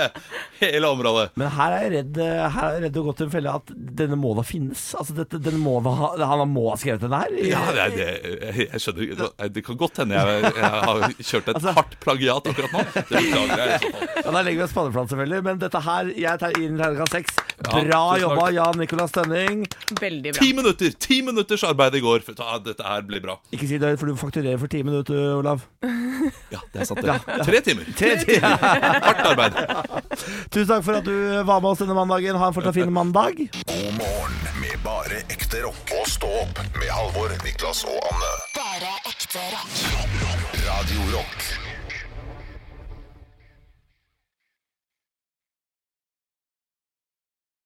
Speaker 8: hele området
Speaker 3: Men her er jeg redd eh, Her er jeg redd å gå til en felle at denne må da finnes. Altså, dette, den må da ha, han må ha skrevet den her.
Speaker 8: ja, det, det, jeg, jeg skjønner ikke Nei, Det kan godt hende jeg, jeg har kjørt et hardt plagiat akkurat nå Det beklager jeg i så fall.
Speaker 3: Ja, Der legger vi oss panneplan, selvfølgelig. Men dette her Jeg tar inn terningkast seks.
Speaker 8: Ja,
Speaker 3: Bra
Speaker 8: tusen
Speaker 3: jobba,
Speaker 8: takk.
Speaker 3: Jan Nicolas Tønning.
Speaker 5: veldig bra.
Speaker 8: Ti minutter, ti minutters arbeid i går for, ah, Dette her blir bra
Speaker 3: Ikke si det høyt, for du fakturerer for ti minutter, Olav.
Speaker 8: Ja, det er sant det Tre timer,
Speaker 3: Tre timer.
Speaker 8: hardt arbeid
Speaker 3: Tusen takk for at du var med oss denne mandagen. Ha en fortsatt fin mandag.
Speaker 2: God morgen med bare ekte rock. Og stå opp med Halvor, Niklas og Anne.
Speaker 1: Bare ekte rock.
Speaker 2: Radio Rock.